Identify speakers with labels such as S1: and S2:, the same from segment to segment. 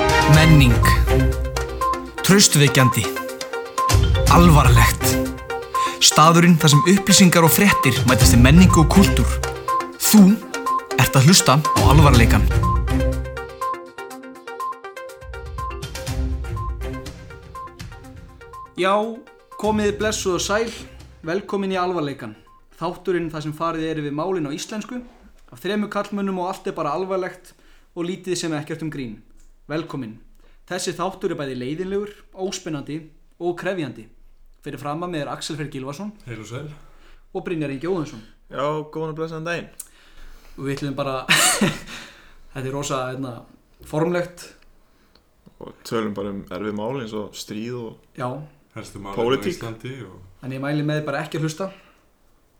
S1: Spenning Traustvekjandi Alvarlegt Staðurinn þar sem upplýsingar og fréttir mætast í menningu og kultúr Þú ert að hlusta á alvarleikan
S2: Já, komiði blessuð og sæl, velkomin í alvarleikan. Þátturinn þar sem farið er við málin á íslensku, af þremur kallmönnum og allt er bara alvarlegt og lítið sem ekkert um grín. Velkomin. Þessi þáttur er bæði leiðinlegur, óspennandi og krefjandi. Fyrir fram að með er Axel Fer Gilvason
S3: Heil og sæl
S2: og Brynjar Ingi Óðinsson.
S4: Já, góðan og blessaðan daginn.
S2: Og við ætlum bara, þetta er rosa einna, formlegt,
S4: Og tölum bara um erfið mál eins og stríð og
S2: já,
S3: Helstu málið
S4: Pólitík.
S3: á Íslandi og
S2: en ég mæli með bara ekki að hlusta.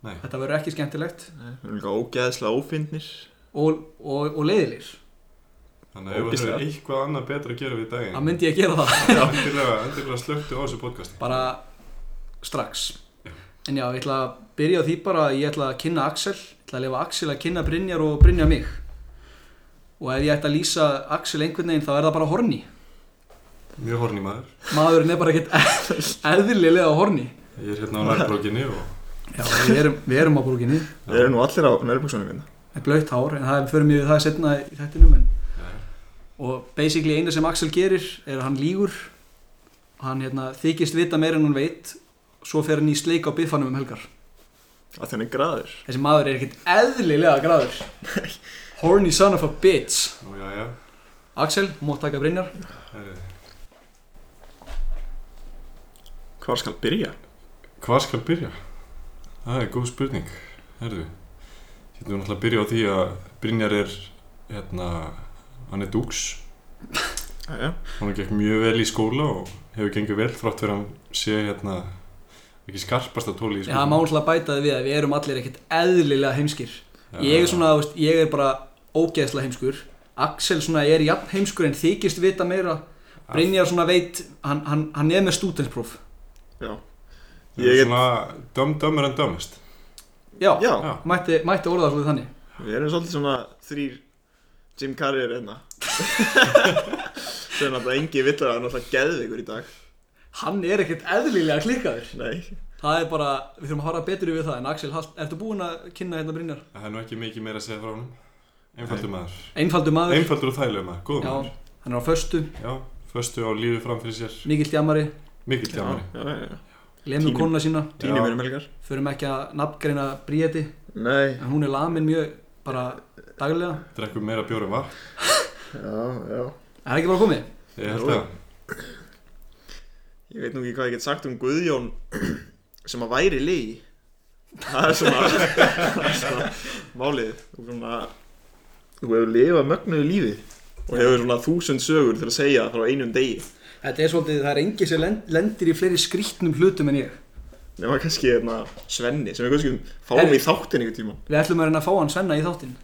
S3: Nei.
S2: Þetta verður ekki skemmtilegt
S4: Nei, við erum líka ógeðslega ófindnir.
S2: og, og, og leiðilir.
S3: Þannig að ef það
S4: Ógeðslega.
S3: er eitthvað annað betra að gera við daginn
S2: Það myndi ég að gera það.
S3: Já Endilega, endilega slöktu á þessu podcasti
S2: bara strax
S3: Já.
S2: en já, ég ætla að byrja á því bara að ég ætla að kynna Axel ég ætla að lifa Axel að kynna Brynjar og Brynja mig og ef ég ætti að lýsa Axel einhvern veginn þá er það bara horni
S3: Mjög horni maður
S2: maðurinn er bara ekkert eðlilega horni
S3: Ég er hérna á nærbrókinni og
S2: já, við erum, við erum á búrginni
S3: Já.
S4: Við erum nú allir á nærbuksonum hérna.
S2: með blöytt hár en það fyrir mig við það setna í þettinum en
S3: Já.
S2: og basically eina sem Axel gerir er að hann lígur hann hérna, þykist vita meira en hann veit svo fer hann í sleik á biffanum um helgar
S4: Að þenni graður.
S2: Þessi maður er ekkert eðlilega gráður Horny son of a bitch
S3: Nú já já
S2: Axel, mótt taka Brynjar
S3: Herri,
S4: Hvar skal byrja?
S3: Hvað skal byrja? Það er góð spurning Herðu Hérna við náttúrulega að byrja á því að Brynjar er hérna Hann er dúks
S4: Jæja.
S3: Hann gekk mjög vel í skóla og hefur gengið vel frátt fyrir að hann sé hérna ekki skarpasta tóli í
S2: Já, má alltaf bæta þið við að við erum allir ekkert eðlilega heimskir Ég er svona, þú veist, ég er bara ógeðslega heimskur Axel svona er jafn heimskur en þykist vita meira Brynjar svona veit, hann, hann, hann er með stúdenspróf
S4: Já.
S3: Ég
S4: Ég
S3: er
S4: er-
S3: svona döm, dömur en dömist
S2: Já,
S4: Já,
S3: Já.
S2: Mætti, mætti orða það svolítið þannig
S4: við erum svolítið svona þrýr Jim Carrey er hérna. Það er náttúrulega engi villar að hann náttúrulega geðveikur í dag.
S2: Hann er ekkert eðlilega klikkaður
S4: Nei.
S2: Það er bara, við þurfum að fara betur við það En Axel, halt- ertu búin að kynna hérna Brynjar?
S3: Það er nú ekki mikið meira að segja frá hann Einfaldur maður
S2: Einfaldur maður
S3: Einfaldur og þægilega maður, góð
S2: Já,
S3: maður
S2: hann er á föstu,
S3: Já, föstu á lífi framfyrir sér
S2: mikill djamari,
S3: Mikið tjámari
S4: Já, já, já.
S2: lemur
S4: Tínum.
S2: konuna sína,
S4: Týnum erum um helgar.
S2: förum ekki að nafngreina Bríeti,
S4: Nei.
S2: en hún er lamin mjög bara daglega.
S3: Drekkum meira bjór en vatn
S4: Já, já.
S2: Er það ekki bara komið?
S3: Ég held
S4: Jú.
S3: að
S4: Ég veit nú ekki hvað ég get sagt um Guðjón sem að væri lei Það er svona, það er svona málið Þú, svona, þú hefur lifað mögnuðu lífi og hefur svona þúsund sögur til að segja frá einum degi
S2: Þetta er svolítið, það er engi sem len- lendir í fleiri skrítnum hlutum en ég.
S4: nema kannski hérna, Svenni sem við kannski um- fáum í þáttin einhvern tíma
S2: Við ætlum að reyna að fá hann Svenna í þáttinn,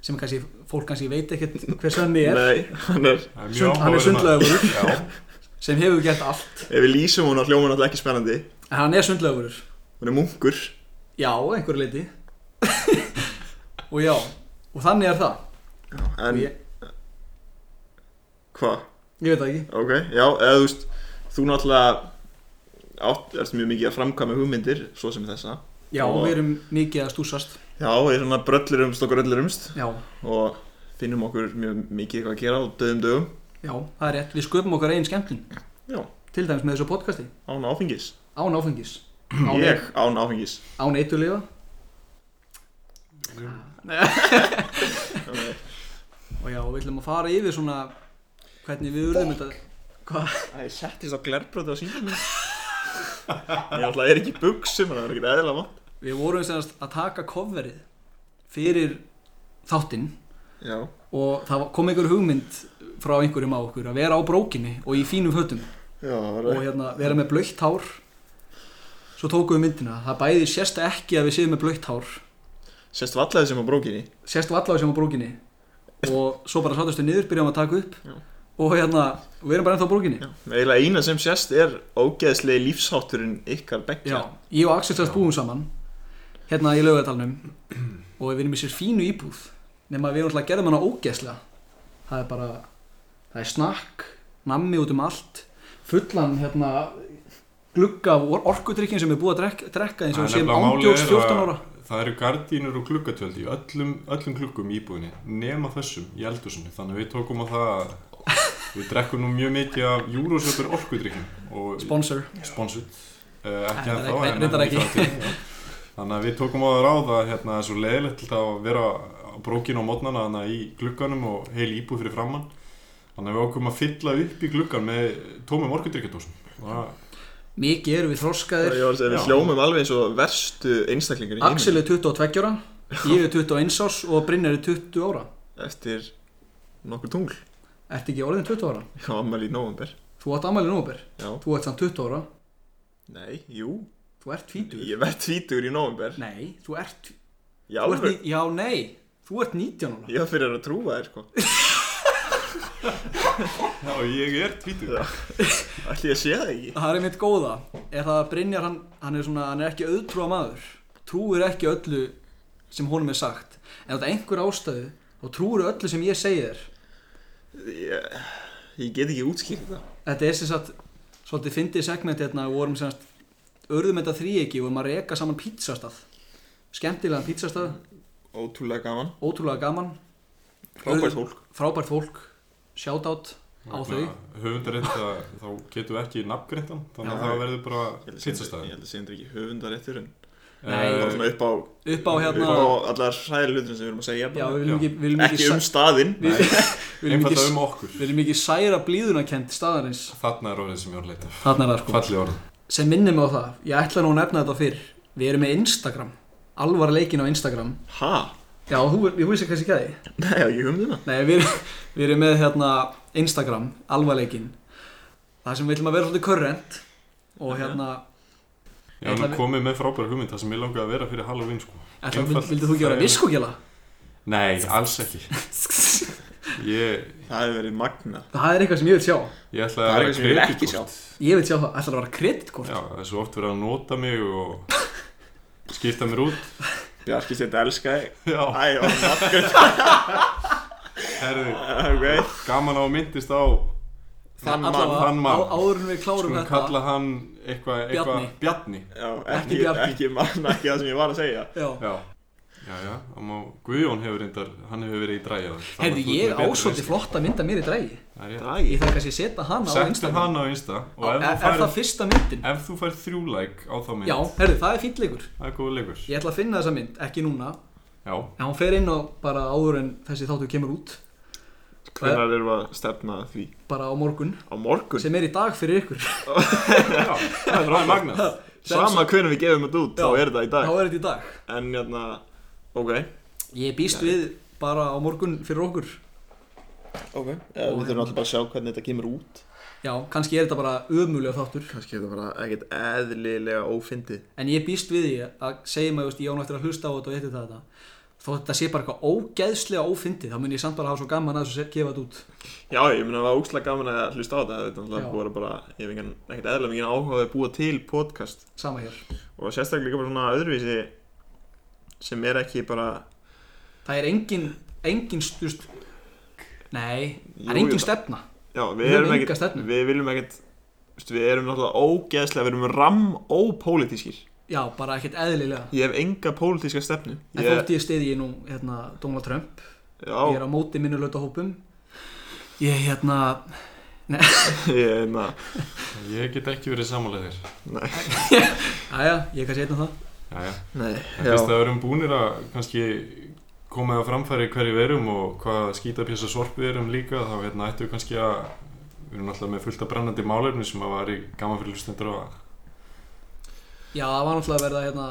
S2: sem kannski, fólk kannski veit ekkert hver Svenni er,
S4: Nei, hann er,
S3: það er
S2: Sund-
S3: mjög
S2: hann er
S3: áhugaverður maður.
S2: sundlaugur,
S3: Já,
S2: sem hefur gert allt,
S4: ef við lýsum hún að hljóma náttúrulega ekki spennandi
S2: en hann er sundlaugur.
S4: hún er munkur
S2: Já, að einhverju leiti. og já, og þannig er það. Og
S4: en
S2: Ég,
S4: hvað?
S2: ég veit það ekki.
S4: Ok, já, eða þú veist þú náttúrulega átt, erst mjög mikið að framkvæma hugmyndir svo sem þessa
S2: Já,
S4: Og-
S2: við erum mikið að stúsast.
S4: Já, við erum svona bröllurumst og gröllurumst
S2: Já,
S4: og finnum okkur mjög mikið eitthvað að gera á döðum dögum
S2: já, það er rétt. Við sköpum okkar einn skemmtun.
S4: Já,
S2: til dæmis með þessu podcasti
S4: án áfengis
S2: án áfengis án,
S4: Ég án áfengis
S2: án eitulífa og já, við ætlum að fara yfir svona hvernig við urðum þetta hvað?
S4: Það er settist á glerbröðu á síðan Ég alltaf er ekki í buksum það er ekkert eðla vant
S2: við vorum semast að taka kofverið fyrir þáttinn
S4: Já,
S2: og það kom einhver hugmynd frá einhverjum á okkur að vera á brókinni og í fínum fötum
S4: já,
S2: og hérna vera með blöytt hár svo tókum við myndina það bæði sérst ekki að við séum með blöytt hár
S4: Sérst vallaði sem á brókinni
S2: sérst vallaði sem á brúkinni og svo bara sáttast við niður, byrjum að taka upp
S4: Já.
S2: og hérna, við erum bara ennþá á brúkinni
S4: Já, eiginlega eina sem sérst er ógeðslegi lífshátturinn ykkar bekkja
S2: ég og Axel sérst búum saman hérna í laugatalnum og við erum í sér fínu íbúð nema við erum alltaf að gerðum hana ógeðslega það er bara, það er snakk nammi út um allt fullan hérna glugga af or orkudrykkin sem er búið að drekka, drekka eins og
S3: Það
S2: við
S3: er
S2: séum
S3: nefnilega málið
S2: ándjóks
S3: er að-
S2: 14 ára
S3: Það eru gardínur og gluggatjöld í öllum, öllum gluggum í íbúðinni nema þessum í eldhúsinu þannig að við tókum á það að við drekkum nú mjög mikið af júrósjöpur orkudrykkum og
S2: sponsor
S3: sponsored uh, ekki
S2: Nei,
S3: að þá
S2: nei, reyndar ekki.
S3: þannig að við tókum á það ráð að hérna, það er svo leiðilegt til að vera á brókinu á mótnana þannig að í glugganum og heil íbúð fyrir framann þannig að við ákveðum að fylla upp í gluggan með tómum orkudrykkjadósum það
S2: mikið eru við
S4: Ég
S2: þroskaðir
S4: var að
S3: Já.
S4: segja, við hljómum alveg eins og verstu einstaklingar í heiminum.
S2: Axel er 22 ára ég er 21 árs og Brynjar er 20 ára
S4: Eftir nokkur tungl.
S2: ertu ekki orðin 20 ára?
S4: Já, ammali í november.
S2: þú átt ammæli nóber
S4: Já.
S2: þú ert samt 20 ára
S4: Nei, jú.
S2: þú ert tvítur
S4: Ég verð tvítugur í november.
S2: nei, þú ert,
S4: Já,
S2: þú ert ní- já, nei þú ert 19 ára
S4: ég var fyrir að trúa þér, sko.
S3: Já, ég er tvítur
S4: Já. Ætli ég sé það ekki.
S2: Það er einmitt góða er það að Brynjar hann, hann er svona hann er ekki auðtrúa maður trúir ekki öllu sem honum er sagt en þetta einhver ástæðu og trúir öllu sem ég segi þér
S4: Ég, ég get ekki útskýrt það.
S2: þetta er sem sagt svolítið fyndið segment hérna við vorum semast örðum þetta þríegi og við erum að reka saman pizzastað skemmtilegan pizzastað
S4: Ótrúlega gaman.
S2: ótrúlega gaman
S4: Frábært
S2: Urðum-
S4: fólk.
S2: frábært fólk shoutout á
S3: Hérna.
S2: þau
S3: höfundarétta þá getum við ekki nafngreintan þannig að
S4: Já.
S3: það verður bara
S4: Ég held að sé þetta- ég
S3: pizzastæði
S4: held að segja þetta ekki höfundaréttur en
S3: Eh,
S2: Nei.
S4: bara svona upp á,
S2: upp á hérna
S4: upp á allar hræðilutin sem við erum að segja
S2: já,
S4: bara.
S2: við viljum ekki, við viljum
S4: ekki
S2: sa-
S4: um staðinn
S2: við, við viljum
S3: einfalda
S2: ekki
S3: um okkur
S2: Við erum ekki særa blíðunarkend staðarins
S3: þarna er orðið sem ég var að leita af.
S2: Þarna er það sko
S3: fallið orð
S2: Sem minnir mig á það, ég ætla nú að nefna þetta fyrr Við erum með Instagram Alvar leikin á Instagram
S4: ha?
S2: Já, þú, ég vissi kannski ekki að því
S4: Nei, ég hef ekki um þetta
S2: Nei, við, við erum með hérna Instagram, Alvar leikin Það sem við ætlum að vera svolítið current Og hérna,
S3: ég
S2: Ætla
S3: var
S2: við-
S3: nú komið með frábæra hugmynd það sem ég langaði að vera fyrir Halloween sko.
S2: ætla,
S3: Einfalt.
S2: vild, vildu þú ekki vera viskugjöla?
S3: nei, alls ekki ég,
S4: Það hefur verið magna
S2: Það er eitthvað sem ég vil sjá
S3: Ég ætla að
S4: Það er
S3: vera
S4: eitthvað sem ég vil ekki
S3: kreditkort.
S2: Ég vil sjá það, ætla að vera kreditkort
S3: Já, það er svo oft verið að nota mig og skýrta mér út
S4: Bjarki sér þetta elska þig
S3: Já,
S4: Æ, og magna
S3: herðu,
S4: Ok
S3: gaman á að myndist á
S4: Þann mann
S2: Allavega,
S3: þann mann.
S2: á- áður en við klárum
S3: Skulum
S2: þetta
S3: kalla hann eitthvað eitthva, Bjarni
S4: Já,
S2: Ekki
S4: ekki,
S2: Bjarki.
S4: ekki manna, ekki það sem ég var að segja
S2: Já.
S3: Já, já, já og má, Guðjón hefur reyndar, hann hefur verið í dræja
S2: Herði, ég ásvöldi flott að mynda mér í drægi
S3: flott
S4: Drægi
S2: Ég þarf kannski að setja hana á
S3: Settu
S2: Instagram
S3: hann á Insta og
S2: Er,
S3: ef þú
S2: er það
S3: fær,
S2: fyrsta myndin?
S3: ef þú fær þrjú like á þá mynd
S2: Já, herðu, það er fínt leikur
S3: Það er góð leikur
S2: Ég ætla að finna þessa mynd, ekki núna
S3: Já,
S2: En hún fer inn á bara áður en þessi þáttu kemur út
S4: Hvernig erum við að stefna að því?
S2: Bara á morgun
S4: Á morgun
S2: Sem er í dag fyrir ykkur
S3: já, það er ræði magnað
S4: Sama hvernig við gefum þetta út,
S2: Já.
S4: þá er þetta í
S2: Þá
S4: dag
S2: er þetta í dag
S4: En hérna, ok
S2: Ég býst við bara á morgun fyrir okkur
S4: Ok Við
S2: Og hérna-
S4: þurfum alltaf bara að sjá hvernig þetta kemur út
S2: Já, kannski er þetta bara ömulega þáttur
S4: Kannski er þetta bara ekkert eðlilega ófyndið
S2: En ég býst við því að segja maður, veist, ég án eftir að hlusta á þetta og eitthvað þetta Þó þetta sé bara eitthvað ógeðslega ófyndið Þá mun ég samt bara hafa svo gaman að þessu se- gefa þetta út
S4: Já, ég meina það var ógslag gaman að hlusta á þetta þetta er
S2: Já.
S4: náttúrulega búið að bara, ég hef engan, ekkert eðla mikið áhuga á því að búa til podcast
S2: Sama hér
S4: og sérstaklega líka bara svona öðruvísi sem er ekki bara
S2: Það er engin, engin stust Nei, það er
S4: Jú,
S2: engin
S4: jú.
S2: stefna
S4: já, við,
S2: Við höfum
S4: erum
S2: enga
S4: ekkert,
S2: stefnu.
S4: við viljum ekkert veist, við erum náttúrulega ógeðslega, við erum ram ópólitískir,
S2: Já, bara ekkert eðlilega
S4: ég hef enga pólitíska stefnu
S2: En
S4: ég,
S2: þótt ég stiði ég nú hérna, Donald Trump, ég
S4: já,
S2: er á móti minnulöta hópum Ég hérna
S4: ég er hérna- na,
S3: Ég get ekki verið samanlega þér
S4: nei,
S2: Æja, ég er kannski einn af það
S3: Já, já
S4: nei
S3: En
S4: já,
S3: fyrst að við erum búnir að kannski koma að framfæri hverju við erum og hvað skítapjasa sorp við erum líka þá hérna ættum við kannski að við erum alltaf með fullt af brennandi málefni sem að væri gaman fyrir hlustendur og
S2: Já, það var náttúrulega að verða hérna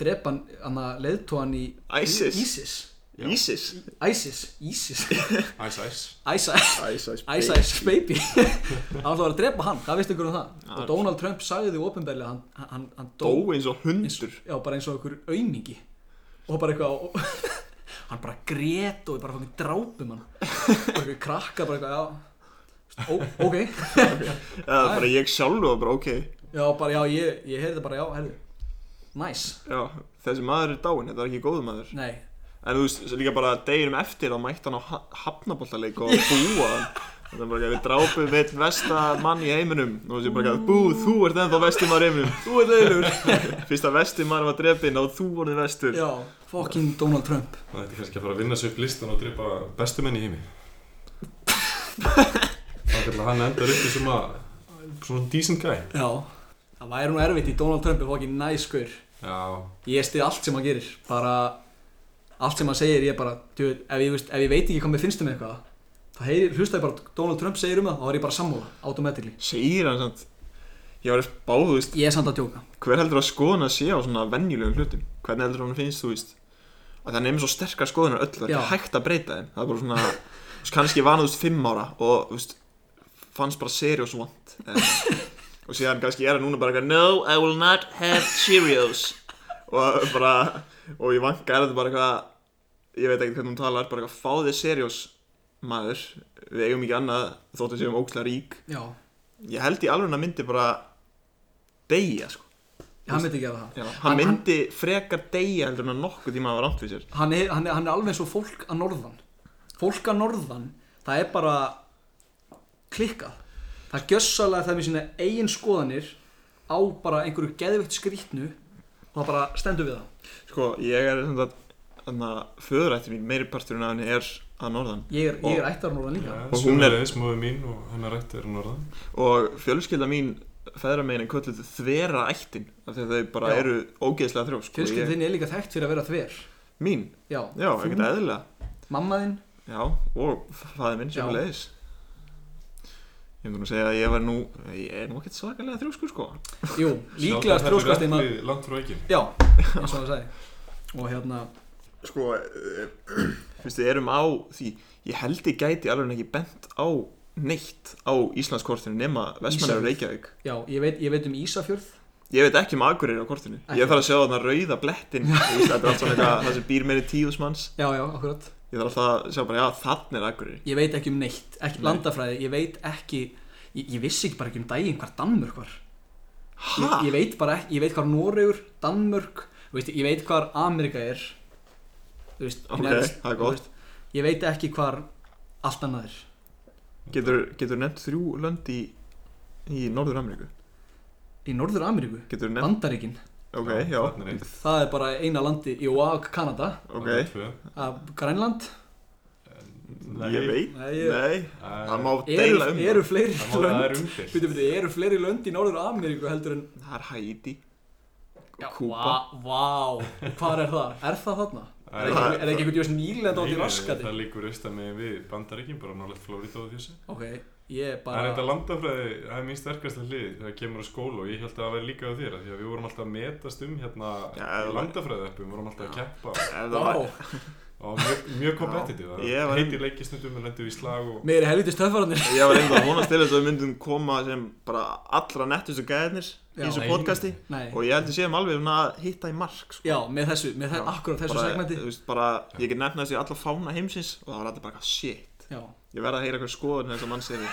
S2: drepan, hann að leiðtóan í
S4: ISIS.
S2: ISIS
S3: Já.
S4: Ísis
S2: ISIS, ISIS
S3: Æs, æs
S2: ISIS,
S4: Ísis,
S2: ISIS baby Það var náttúrulega að vera að drepa hann, hvað veist ykkur um það?
S4: Já,
S2: og Donald Trump sagði því ofinberlega hann, hann, hann dó,
S4: dó eins og hundur
S2: já, bara eins og ykkur aumingi og bara eitthvað og, hann bara grét og við bara fangin drápum hann og ykkur krakka bara eitthvað, já Ó, ok
S4: eða bara ég sjálfu og bara ok
S2: Já, bara, já, ég, ég heyrði bara, já, heyrðu Næs,
S4: já, þessi maður er dáinn, þetta er ekki góð maður
S2: nei
S4: En þú veist, líka bara deginum eftir þá mætti hann á hafnabóltaleik og búa hann Það er bara ekki að við drápum einn vestamann í heiminum og þessi bara ekki að bú, þú ert ennþá vestimann í heiminum, þú ert leiðilegur Fyrsta vestimann var drefin og þú voruð vestur
S2: Já, fucking Donald Trump
S3: Það ætti kannski að fara að vinna sér upp listan og dripa bestu menn í heimi Það er að hann endar upp í sem að svona decent guy
S2: Já, það væri nú erfitt í Donald Trump er fucking næskur
S3: Já,
S2: Ég stið allt sem hann gerir bara allt sem hann segir ég bara djú, ef, ég, veist, ef ég veit ekki hvað mér finnst um eitthvað þá heyr, hlusta ég bara Donald Trump segir um það þá er ég bara sammála, automatically
S4: Segir hann samt Ég var eftir báðu, þú veist,
S2: Ég er samt að djóka
S4: hver heldur að skoðuna sé á svona venjulegum hlutum Hvernig heldur hann finnst, þú veist að það nefnir svo sterkar skoðunar öll, það er
S2: Já.
S4: ekki hægt að breyta þeim Það er bara svona, þú veist, kannski vanað, þú veist, fimm ára og, þú veist, fannst bara seriós vant en, og síðan kannski er hann núna bara eitthvað, No, I will not have Cheerios og bara, og ég vanka er þetta bara eitthvað ég veit ekki hvernig hún talar, bara eitthvað fá þið seriós maður, við eigum ekki annað þóttum séum ókslega rík
S2: Já,
S4: ég held í alveg að myndi bara deyja sko
S2: hann myndi gera það
S4: Já, hann,
S2: Hann-
S4: myndi frekar deyja heldur en að nokkuð tíma var rámt við sér
S2: hann er, hann, er, hann er alveg eins og fólk að norðan fólk að norðan það er bara klikkað það er gjössalega það er með sína eigin skoðanir á bara einhverju geðvikt skrítnu og það bara stendur við það
S4: sko ég er sem sagt þannig að föðurætti mín meiri parturinn af henni er að norðan
S2: ég er, ég er ættar norðan líka
S4: Og
S3: og
S4: hún
S3: hún
S4: er-
S3: er smóðu mín og hennar rættir er um norðan
S4: og fjölskylda mín feðra megin er kvöldu þvera ættin af því að þau bara
S2: Já.
S4: eru ógeðslega þrjó sko,
S2: fjölskyldin
S4: ég,
S2: þinn er líka þekkt fyrir að vera þver
S4: mín,
S2: já,
S4: já, ekkert eðlilega
S2: mamma þinn
S4: já, og fæði minn
S2: Já.
S4: sem leiðis ég myndi nú segja að ég var nú ég er nú ekkert svakalega þrjóskur sko
S2: jú, líklega strjóskast einma
S3: maður Langt frá ekki
S2: já, eins og það segi og hérna,
S4: sko finnst þið erum á því ég held ég gæti alveg ekki bent á neitt á Íslandskortinu nema Vestmannar og Reykjavík
S2: já, ég veit, ég veit um Ísafjörð
S4: ég veit ekki um Akureyri á kortinu
S2: Ekki.
S4: ég þarf að sjá þarna rauða blettin Þú veist, þetta er allt svona eitthvað það sem býr meiri tíðusmanns
S2: já, já, akkurat
S4: ég þarf alltaf að sjá bara já þann er Akureyri
S2: ég veit ekki um neitt, ekki
S4: Nei.
S2: landafræði ég veit ekki, ég, ég vissi ekki bara ekki um daginn hvar Danmörk var ég,
S4: ha?
S2: ég veit bara ekki, ég veit hvar Noregur Danmörk, þú veist, ég veit hvar Amerika er þú veist,
S4: Ok,
S2: neðst,
S4: það er
S2: þú
S4: gott.
S2: veist, ég veit ekki hvar allt annað er
S4: getur, getur nefnt þrjú lönd í í Norður Ameríku
S2: í Norður Ameríku,
S4: getur nefnt
S2: Bandaríkin
S4: ok, já
S3: Þarna er eitt
S2: það er bara eina landi í OAG Kanada,
S4: ok
S3: þarna er tvö.
S2: að Grænland
S3: Nei.
S4: ég veit
S2: Nei, ég-
S4: nei
S3: Nei,
S4: það má
S2: eru,
S4: deila um
S2: eru fleiri
S3: það má- það
S2: lönd
S3: er um- umfyrst
S2: byrju, byrju, eru fleiri lönd í Norður Ameríku heldur en
S4: það er Haiti Kúba
S2: vá, vá, hvað er það? Er það þarna? Er ekki-
S4: Það-
S2: er það ekki einhvern veginn nýlend átt í raskati?
S3: Það líkur reist að með við bandaríkin bara nálega Flórida og þessu
S2: Ok, ég er
S3: Það er þetta
S2: bara
S3: landafræði, það er mín sterkasta hlið þegar kemur á skóla og ég held að það væri líka á þér af því að við vorum alltaf að metast um hérna
S4: Já,
S3: í
S4: það-
S3: landafræði við vorum alltaf að keppa
S4: Ef það
S2: Vá,
S4: væri-
S3: og mjög, mjög kompetitiv
S4: Ég
S3: það
S4: var-
S3: heitir leikistundum og lendum við í slag og
S2: mér er helviti stöðfararnir
S4: Ég var einnig að vonast til þess að við myndum koma sem bara allra nettustu gæðirnir í
S2: Já.
S4: þessu podcasti
S2: Nei,
S4: og ég held að séum alveg svona að hitta í mark sko.
S2: já, með þessu, með það, akkurat þessu
S4: bara,
S2: segmenti
S4: þú veist, bara, Ég get nefnast í alla fána heimsins og það var alltaf bara shit
S2: Já,
S4: Ég verð að heyra eitthvað skoðun þess að mann segir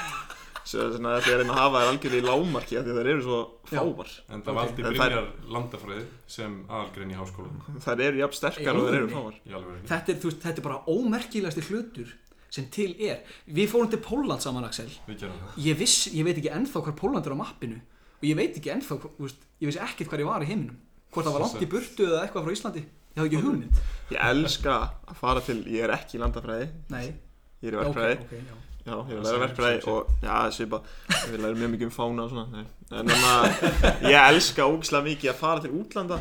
S4: Svo svona þetta er einn að hafa þær algjörlega í lágmarki af því að þær eru svo
S2: Já.
S4: fáar
S3: en það
S2: Ok.
S3: valdi
S4: En það er-
S3: Brynjar landafræði sem aðalgrein í háskólanum
S4: Þær eru jafn sterkar og þær eru
S2: Í
S4: fáar
S3: í alveg
S2: þetta er, þú veist, þetta er bara ómerkilegasti hlutur sem til er Við fórum til Pólland saman, Axel
S3: við gerum það
S2: Ég viss, ég veit ekki ennþá hvar Pólland er á mappinu og ég veit ekki ennþá, hva- þú veist, ég vissi ekkert hvar ég var í heiminum Hvort það var langt í burtu eða eitthvað frá Íslandi Ég hafði ekki hugmynd
S4: Ég elska að fara til, ég er ekki í landafræði
S2: Nei,
S4: Ég er í
S2: já, ok,
S4: verkfræði
S2: ok, já
S4: Já, ég er að
S3: Það
S4: læra
S3: er
S4: verkfræði
S3: sem-
S4: og já, svipa, við lærum mjög mikið um fána og svona, nei. en þannig að ég elska ógislega mikið að fara til útlanda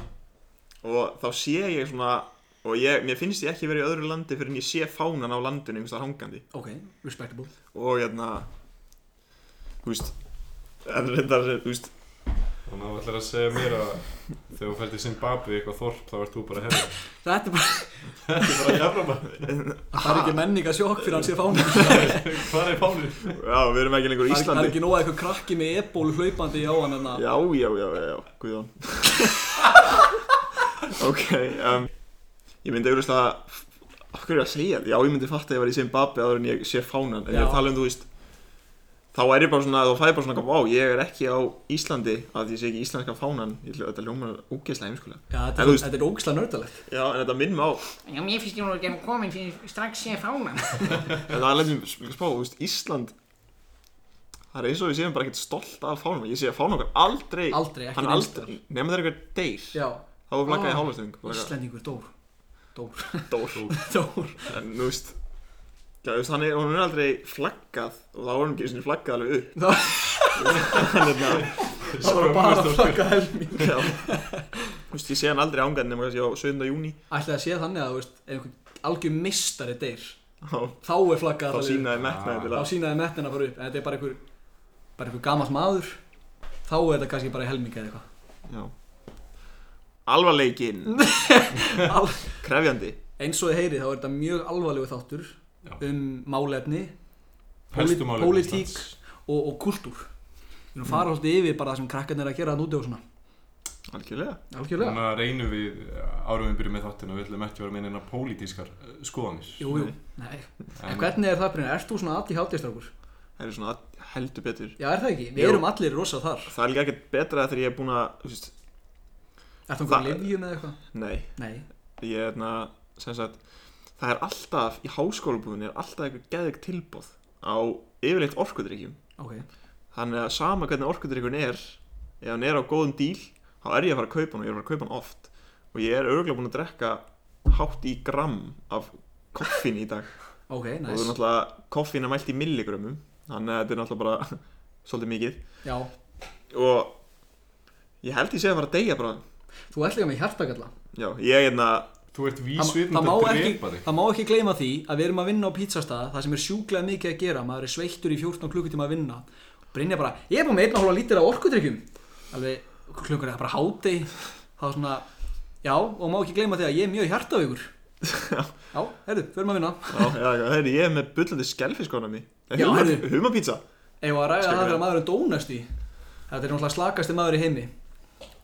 S4: og þá sé ég svona, og ég, mér finnst ég ekki verið í öðru landi fyrir en ég sé fánan á landinu einhvers þar hangandi
S2: Ok, respectable
S4: og hérna, þú veist, en reyndar, þú veist,
S3: þannig að þú ætlar að segja mér að þegar þú fælt í Zimbabwe í eitthvað þorp þá ert þú bara herri
S2: Þetta er bara,
S3: þetta er bara jafnabæð
S2: það er ekki menninga sjokk fyrir hann sér fána
S3: hvað er fánir?
S4: já, við erum ekki lengur í
S2: Það er- það er
S4: Íslandi.
S2: ekki nóga eitthvað krakki með ebólu hlaupandi í á hann en að
S4: Já, já, já, já, já, guðjón Ok, um, ég myndi auðvitað Af hverju er ég að segja þetta? Já, ég myndi fatta að ég var í Zimbabwe áður en ég sé fánan En ég er
S2: Já.
S4: að tala um, þú veist Þá er ég bara svona, þá fæði bara svona Vá, ég er ekki á Íslandi Að ég sé ekki íslenska fánan Ég hlut, þetta ljómar ógeðslega heimskulega
S2: Já, þetta
S4: En þú
S2: er,
S4: veist-
S2: þetta er ógislega nördalegt
S4: Já, en þetta minnum á
S5: Já, mér finnst ég nú ekki að komin fyrir strax sé fána.
S4: En það er leitum spá, þú veist, Ísland það er eins og við séum bara ekkert stolt af fánum ég sé að fánum okkar aldrei
S2: Aldrei, ekki
S4: hann
S2: neins
S4: aldrei nema þegar eitthvað deyr
S2: Já,
S4: þá er flaggað
S2: Ah.
S4: í hálfastöng
S2: Íslendingur Dór Dór,
S4: dór
S2: Dór
S4: en þú veist Já, þú veist, hann er, hún er aldrei flaggað og þá er hún ekki einu sinni flaggað alveg upp
S2: Þá-
S4: Hann er bara-
S2: Það var bara að flagga helmi
S4: Já Þú veist, ég sé hann aldrei ángað nema kannski á 7. júni
S2: Ætli að sé þannig að, þú veist, ef einhvern algjör mistari deyr
S4: Þá
S2: Þá er flaggað
S4: þá
S2: alla leið.
S4: sínaði metnaði til
S2: Þá
S4: að
S2: sínaði metnina bara upp En þetta er bara einhver, bara einhver gamall maður Þá er þetta kannski bara helminga eða
S4: Já Alvarleikin,
S2: eitthvað Al-
S4: krefjandi
S2: Eins og þið heyrið þá er þetta mjög alvarlegu þáttur
S3: Já.
S2: Um málefni
S3: Helstu
S2: pólit-
S3: málefni
S2: Pólitík
S3: Íslands.
S2: og, og kultúr Við erum fara alltaf yfir bara það sem krakkarnir eru að gera þann úti og svona
S4: Algjörlega
S2: Algjörlega
S3: Þannig að reynum við eh, árum við byrjum með þáttina Við ætlum ekki að vera með einna pólitískar eh, skoðanir
S2: Jú, jú, nei En
S3: En-
S2: hvernig er það Brynjar? Ert þú svona aðtíð hátistrákur?
S4: Það er svona heldur betur
S2: Já, er það ekki? Við
S4: Jú.
S2: erum allir rosa þar
S4: Það er líka ekkert betra þegar ég er búin að þú veist,
S2: Er það einhver
S4: Það-
S2: livjum eða eitthvað?
S4: Nei,
S2: Nei
S4: ég er hérna sem sagt, Það er alltaf, í háskólabúðinni er alltaf eitthvað geðveikt tilbóð á yfirleitt orkudrykkjum
S2: Ok,
S4: Þannig að sama hvernig orkudrykkun er ef hann er á góðum díl þá er ég að fara að kaupa hann og ég er að fara að kaupa hann oft og ég er örgulega búin að drekka hátt í gram af koffin í dag
S2: ok,
S4: og þú er
S2: nice.
S4: náttúrulega koffín er mælt í milligrömmum þannig að þetta er náttúrulega bara svolítið mikið
S2: Já,
S4: og ég held ég sé að fara að deyja bara
S2: þú ert líka með hjartagalla
S4: já, ég er hérna
S3: Þú ert
S2: Það-
S3: vísvitund
S2: það má
S3: að
S2: ekki-
S3: drepa þig
S2: Það má ekki gleyma því að við erum að vinna á pítsastaða Það sem er sjúklega mikið að gera Maður er sveittur í 14 klukkutíma að vinna Brynja bara, ég er búin með 1,5 lítir af orkudrykkjum Alveg, klukkur er bara hátei Það er svona, já, og má ekki gleyma því að ég er mjög hjartavíkur Já, herru, förum að vinna
S4: já, já, já, heyrðu, ég er með bullandi skelfiskónami
S2: Já, heyrðu.
S4: humapizza
S2: Eða að ræða
S4: Skal
S2: það
S4: við-
S2: þegar maður er dónast í Þetta er náttúrulega slakasti maður í heimi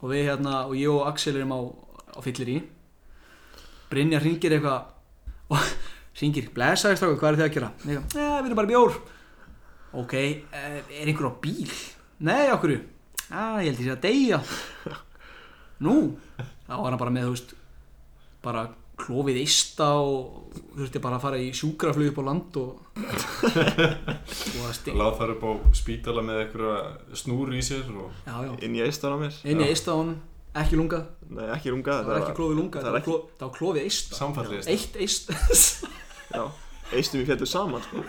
S2: Og við hérna, og ég og Axel erum á, á fyllir í Brynja hringir eitthvað Og hringir, blessaði strákur, hvað er þið að gera? Ég eitthvað, Já, við erum bara í bjór Ok, eh, er einhver á bíl? Nei, okkur Já, ég held ég sé að deyja Nú, þá var hann bara með, þú veist Bara klófið eista og þurfti bara að fara í sjúkraflug upp á land og, og að stinga
S3: Láð þar upp á spítala með einhverja snúru í sér og
S2: Já, já
S4: inn í eistan á mér
S2: Inn í
S3: Já.
S2: eista á honum, ekki lungað
S4: nei, ekki runga
S2: Það var ekki klófið lungað,
S4: það
S2: það
S4: var
S2: var klo- það var klófið eista
S3: samfallist
S2: Eitt eista
S4: já, eistum við fjallu saman sko.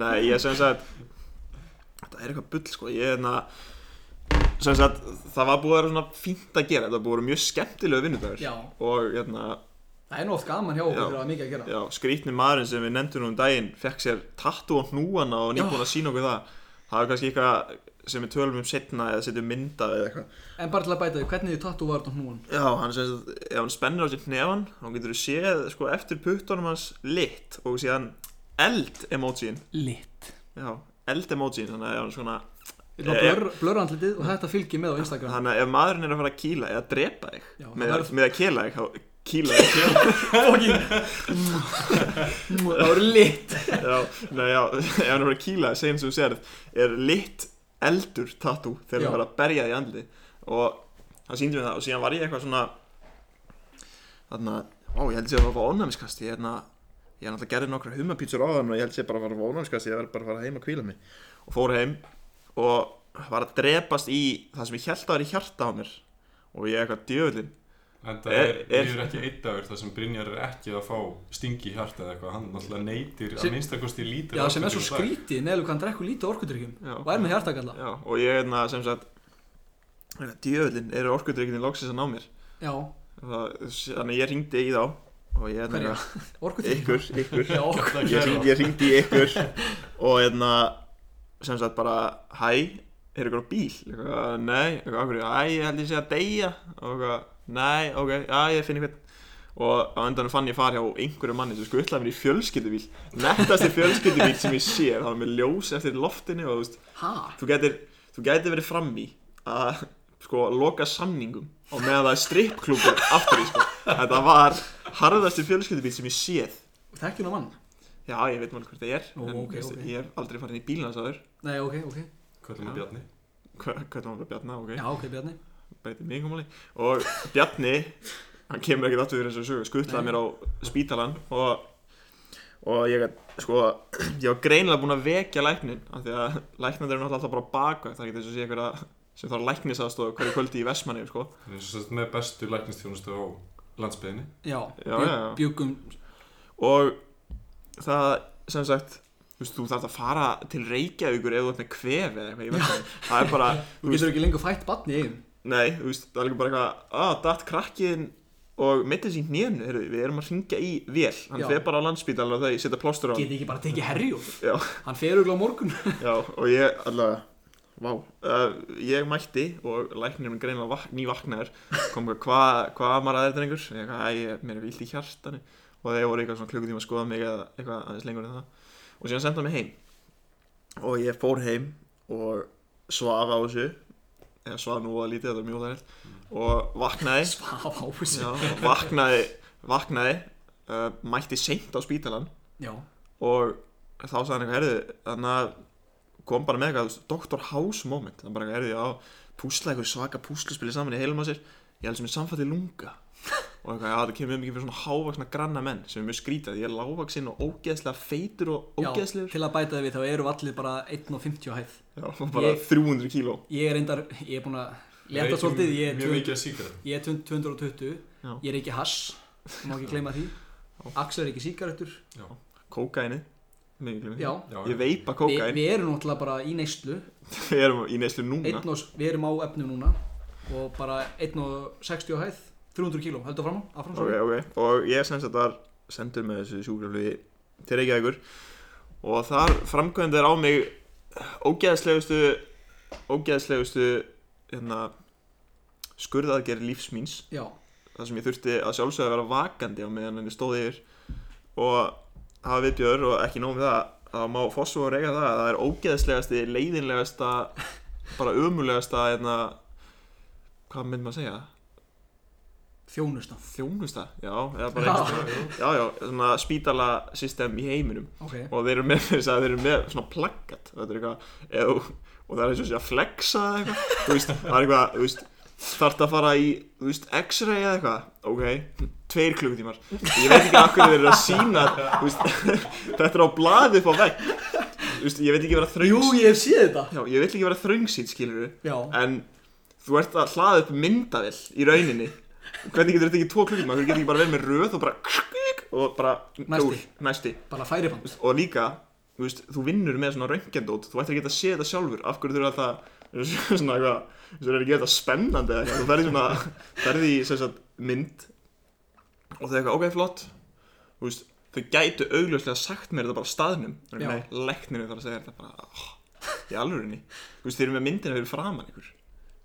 S4: nei, ég sem sagt þetta er eitthvað bull sko. ég er hérna sem sagt, það var búið að vera svona fínt að gera þetta var búið að vera mjög skemmtilega vinnudagur
S2: Já,
S4: og hérna,
S2: það er nú oft gaman hjá okkur
S4: Já.
S2: þegar það er mikið að gera
S4: Já, skrítni maðurinn sem við nefndum nú um daginn fekk sér tattu á hnúana og nýbúin að sína okkur það Það er kannski eitthvað sem við tölum um setna eða setjum mynda eða eitthvað
S2: En bara til að bæta því, hvernig þið tattu var þetta hnúan?
S4: Já, hann sem sagt, ef hann spennir á sér hnefann þá getur þú séð sko eftir puttunum hans lit og síðan eld emojín
S2: Litt
S4: Já, eld emojín, þannig að ef hann svona
S2: Þetta
S4: Eh,
S2: var blör, blörandlitið og þetta fylgir með á Instagram
S4: Þannig að ef maðurinn er að fara að kýla eða drepa þig
S2: Já,
S4: með,
S2: það er-
S4: með að kýla þig, þá kýla þig kýla.
S2: Það var litt
S4: Já, nei, já, ef hann er að fara að kýla þig, segjum sem þú serð er lit eldur tattoo þegar
S2: Já.
S4: hann var að berja því andli og hann síndi mér það og síðan var ég eitthvað svona þarna, ó ég held sér að fara að fá ónæmiskast ég, hérna, ég er náttúrulega gerði nokkra humapítsur á þann og ég held sér bara að fara að fá ónæmiskast ég verð bara að fara heim að kvíla mig og fór heim og var að drepast í það sem ég held að vera í hjarta á mér og ég eitthvað djöðlin
S3: En það er,
S4: Er- er-
S3: er, ekki einn dagur þar sem Brynjar er ekki að fá stingi í hjarta eða eitthvað, hann náttúrulega neytir
S2: Sem-
S3: að minnstakosti lítir
S2: Já, sem er svo skrítið neðalega hvað hann drekkur lítið orkudrykkjum
S4: Já.
S2: Og er með hjartagalla
S4: Já, og ég hérna sem sagt djöðlin eru orkudrykkinni loksins að ná mér
S2: Já,
S4: það, þannig að ég ringdi í þá og ég hérna
S2: hverja? Orkudrykkjum?
S4: ykkur, ykkur
S2: Já, orkudrykkjum
S4: ég, hring, ég ringdi í ykkur og hérna sem sagt bara hæ, er ykkur á bíl eitthvað, nei, eitthvað, af hverju, æ, ég held ég sé að deyja og eitthvað, nei, ok, já, ég finn eitthvað og á endanum fann ég far hjá einhverju manni sem skutlaði mér í fjölskyldubíl nettasti fjölskyldubíl sem ég sé það var með ljós eftir loftinu og þú veist
S2: Ha?
S4: þú gætir, þú gætir verið fram í að sko loka samningum og meðan það er strippklúpur aftur í sko þetta var harðasti fjölskyldubíl sem ég séð
S2: Þekkjum á mann?
S4: já ég veit mál hvort það er
S2: Ó,
S4: en
S2: ok,
S4: veistu,
S2: ok.
S4: ég hef aldrei farin í bílans aður
S2: Nei, ok, ok
S3: Kvöldum að Bjarni
S4: hvernig var það Bjarni ok,
S2: Já, ok, Bjarni
S4: breytið mig um og Bjarni hann kemur ekkert aftur fyrir þessu sögu skutlaði
S2: Nei.
S4: mér á spítalan og, og ég gat, sko, ég var greinilega búinn að vekja læknin af því að læknandir eru náttúrulega alltaf bara bakvægt það er ekki eins og sé einhverja sem þarf læknisaðstofa hverju kvöldi í Vestmanni sko.
S3: Það er svo sett með bestu læknistjónustu á landsbyðinni.
S2: Já,
S4: Já,
S2: bjugg-
S4: já, já.
S2: bjuggum
S4: og það sem sagt þú veist, þú þarf að fara til Reykjavíkur ef þú ert með kvef eða eitthvað í Vestmanni það er bara,
S2: Þú getur ekki lengur fætt barn í eigum
S4: nei, þú veist, það er líka bara eitthvað að, datt krakkiðin og mittið sín nýjörnu, við erum að ringja í vél, hann
S2: Já.
S4: fer bara á landsbítal og þau setja plástur á hann
S2: Geti ekki bara tekið herjúf
S4: Já.
S2: Hann fer auðvitað á morgun
S4: Já, og ég allavega Vá uh, Ég mætti og læknirinn greinilega vak nývaknaður kom eitthvað, hvað hva maður aðeins drengur og ég eitthvað, æ, ég- mér er vilt í hjartanu og þeir voru eitthvað svona klukkutíma að skoða mig eða eitthvað aðeins lengur en það og síðan senda mig heim og ég fór heim og svaf á þessu eða svaf nú að lítið, þetta er mjög óþægilegt og vaknaði
S2: Svaf á þessu
S4: já, vaknaði, vaknaði uh, mætti seint á spítalan
S2: Já,
S4: og þá sagði hann eitthvað, herðu, þannig að kom bara með eitthvað, þú veist, Dr. House moment þannig bara, herðu, já, púsla eitthvað svaka púslaspili saman í heilum á sér ég held sem er samfætt í lunga og eitthvað, já, það kemur mjög mikið fyrir svona hávaksna granna menn sem er mjög skrítið, ég er lávaksinn og ógeðslega feitur og
S2: já
S4: ógeðslegur já,
S2: til að bæta þið við þá eru allir bara 1.50 á hæð
S4: og bara
S2: Ég-
S4: 300 kíló
S2: Ég er reyndar, ég er búin að leta
S3: Reykjum
S2: svolítið E Ég er
S3: Mjög
S2: tvö-
S3: mikið að síkara.
S2: Ég er 220,
S4: Já.
S2: ég er ekki hass, þú má ekki gleyma því Axel er ekki síkaretur
S4: kókaini, mikið
S2: Já,
S4: glimni
S3: Já,
S4: ég veipa
S2: Vi,
S4: kókain,
S2: við erum náttúrulega bara í neyslu
S4: við erum í neyslu núna
S2: einn og, Við erum á efnum núna og bara 1.60 á hæð 300 kíló, heldur fram áfram
S4: ok,
S2: okay.
S4: ok, og ég sem sagt var sendur með þessu sjúkraflugi til Reykjavíkur og þar framkvæmdi er á mig ógeðslegustu ógeðslegustu hérna skurðaðgerð lífs míns
S2: Já,
S4: þar sem ég þurfti að sjálfsögða að vera vakandi á meðan henni stóði yfir og hafa viðbjör og ekki nóg með það það má fossu og reyka það að það er ógeðslegasti, leiðinlegasta bara ömulegasta hérna, hvað mynd maður að segja
S2: þjónusta
S4: þjónusta, já, eða bara eitthvað já, já, svona spítala system í heiminum
S2: Ok,
S4: og þeir eru með þess að þeir eru með svona plaggat og þetta er eitthvað eða, og það er eins og sé að flexa eða eitthvað þú veist, það er eitthvað, þú veist þarf að fara í, þú veist, x-ray eða eitthvað ok, tveir klukkutímar ég veit ekki akkur þeir eru að sína þú veist, þetta er á blaði upp á vegg þú veist, ég veit ekki vera
S2: jú
S4: þröngsýt
S2: ég hef séð þetta
S4: já, ég veit ekki vera þröngsýt, skilur
S2: Já,
S4: en þú ert að hlaða upp myndavill í rauninni hvernig getur þetta ekki tvo klukkum hvernig getur ekki bara verið með röð og bara krik, og bara
S2: Næsti.
S4: úr, næsti.
S2: bara færiband
S4: og líka, þú, veist, þú vinnur með svona röntgendót, þú ættir ekki að sé þetta sjálfur af hverju þú eru að það svona eitthvað, þú eru að gera þetta spennandi eða eitthvað. þú ferði svona, ferði í sem sagt, mynd og þau eitthvað, ok, flott þú veist, þau gætu augljóslega sagt mér þetta bara á staðnum Þau eru,
S2: Já.
S4: nei, læknirinn þarf að segja þetta bara oh, í alvörinni, þú veist, þeir eru með myndina fyrir framan ykkur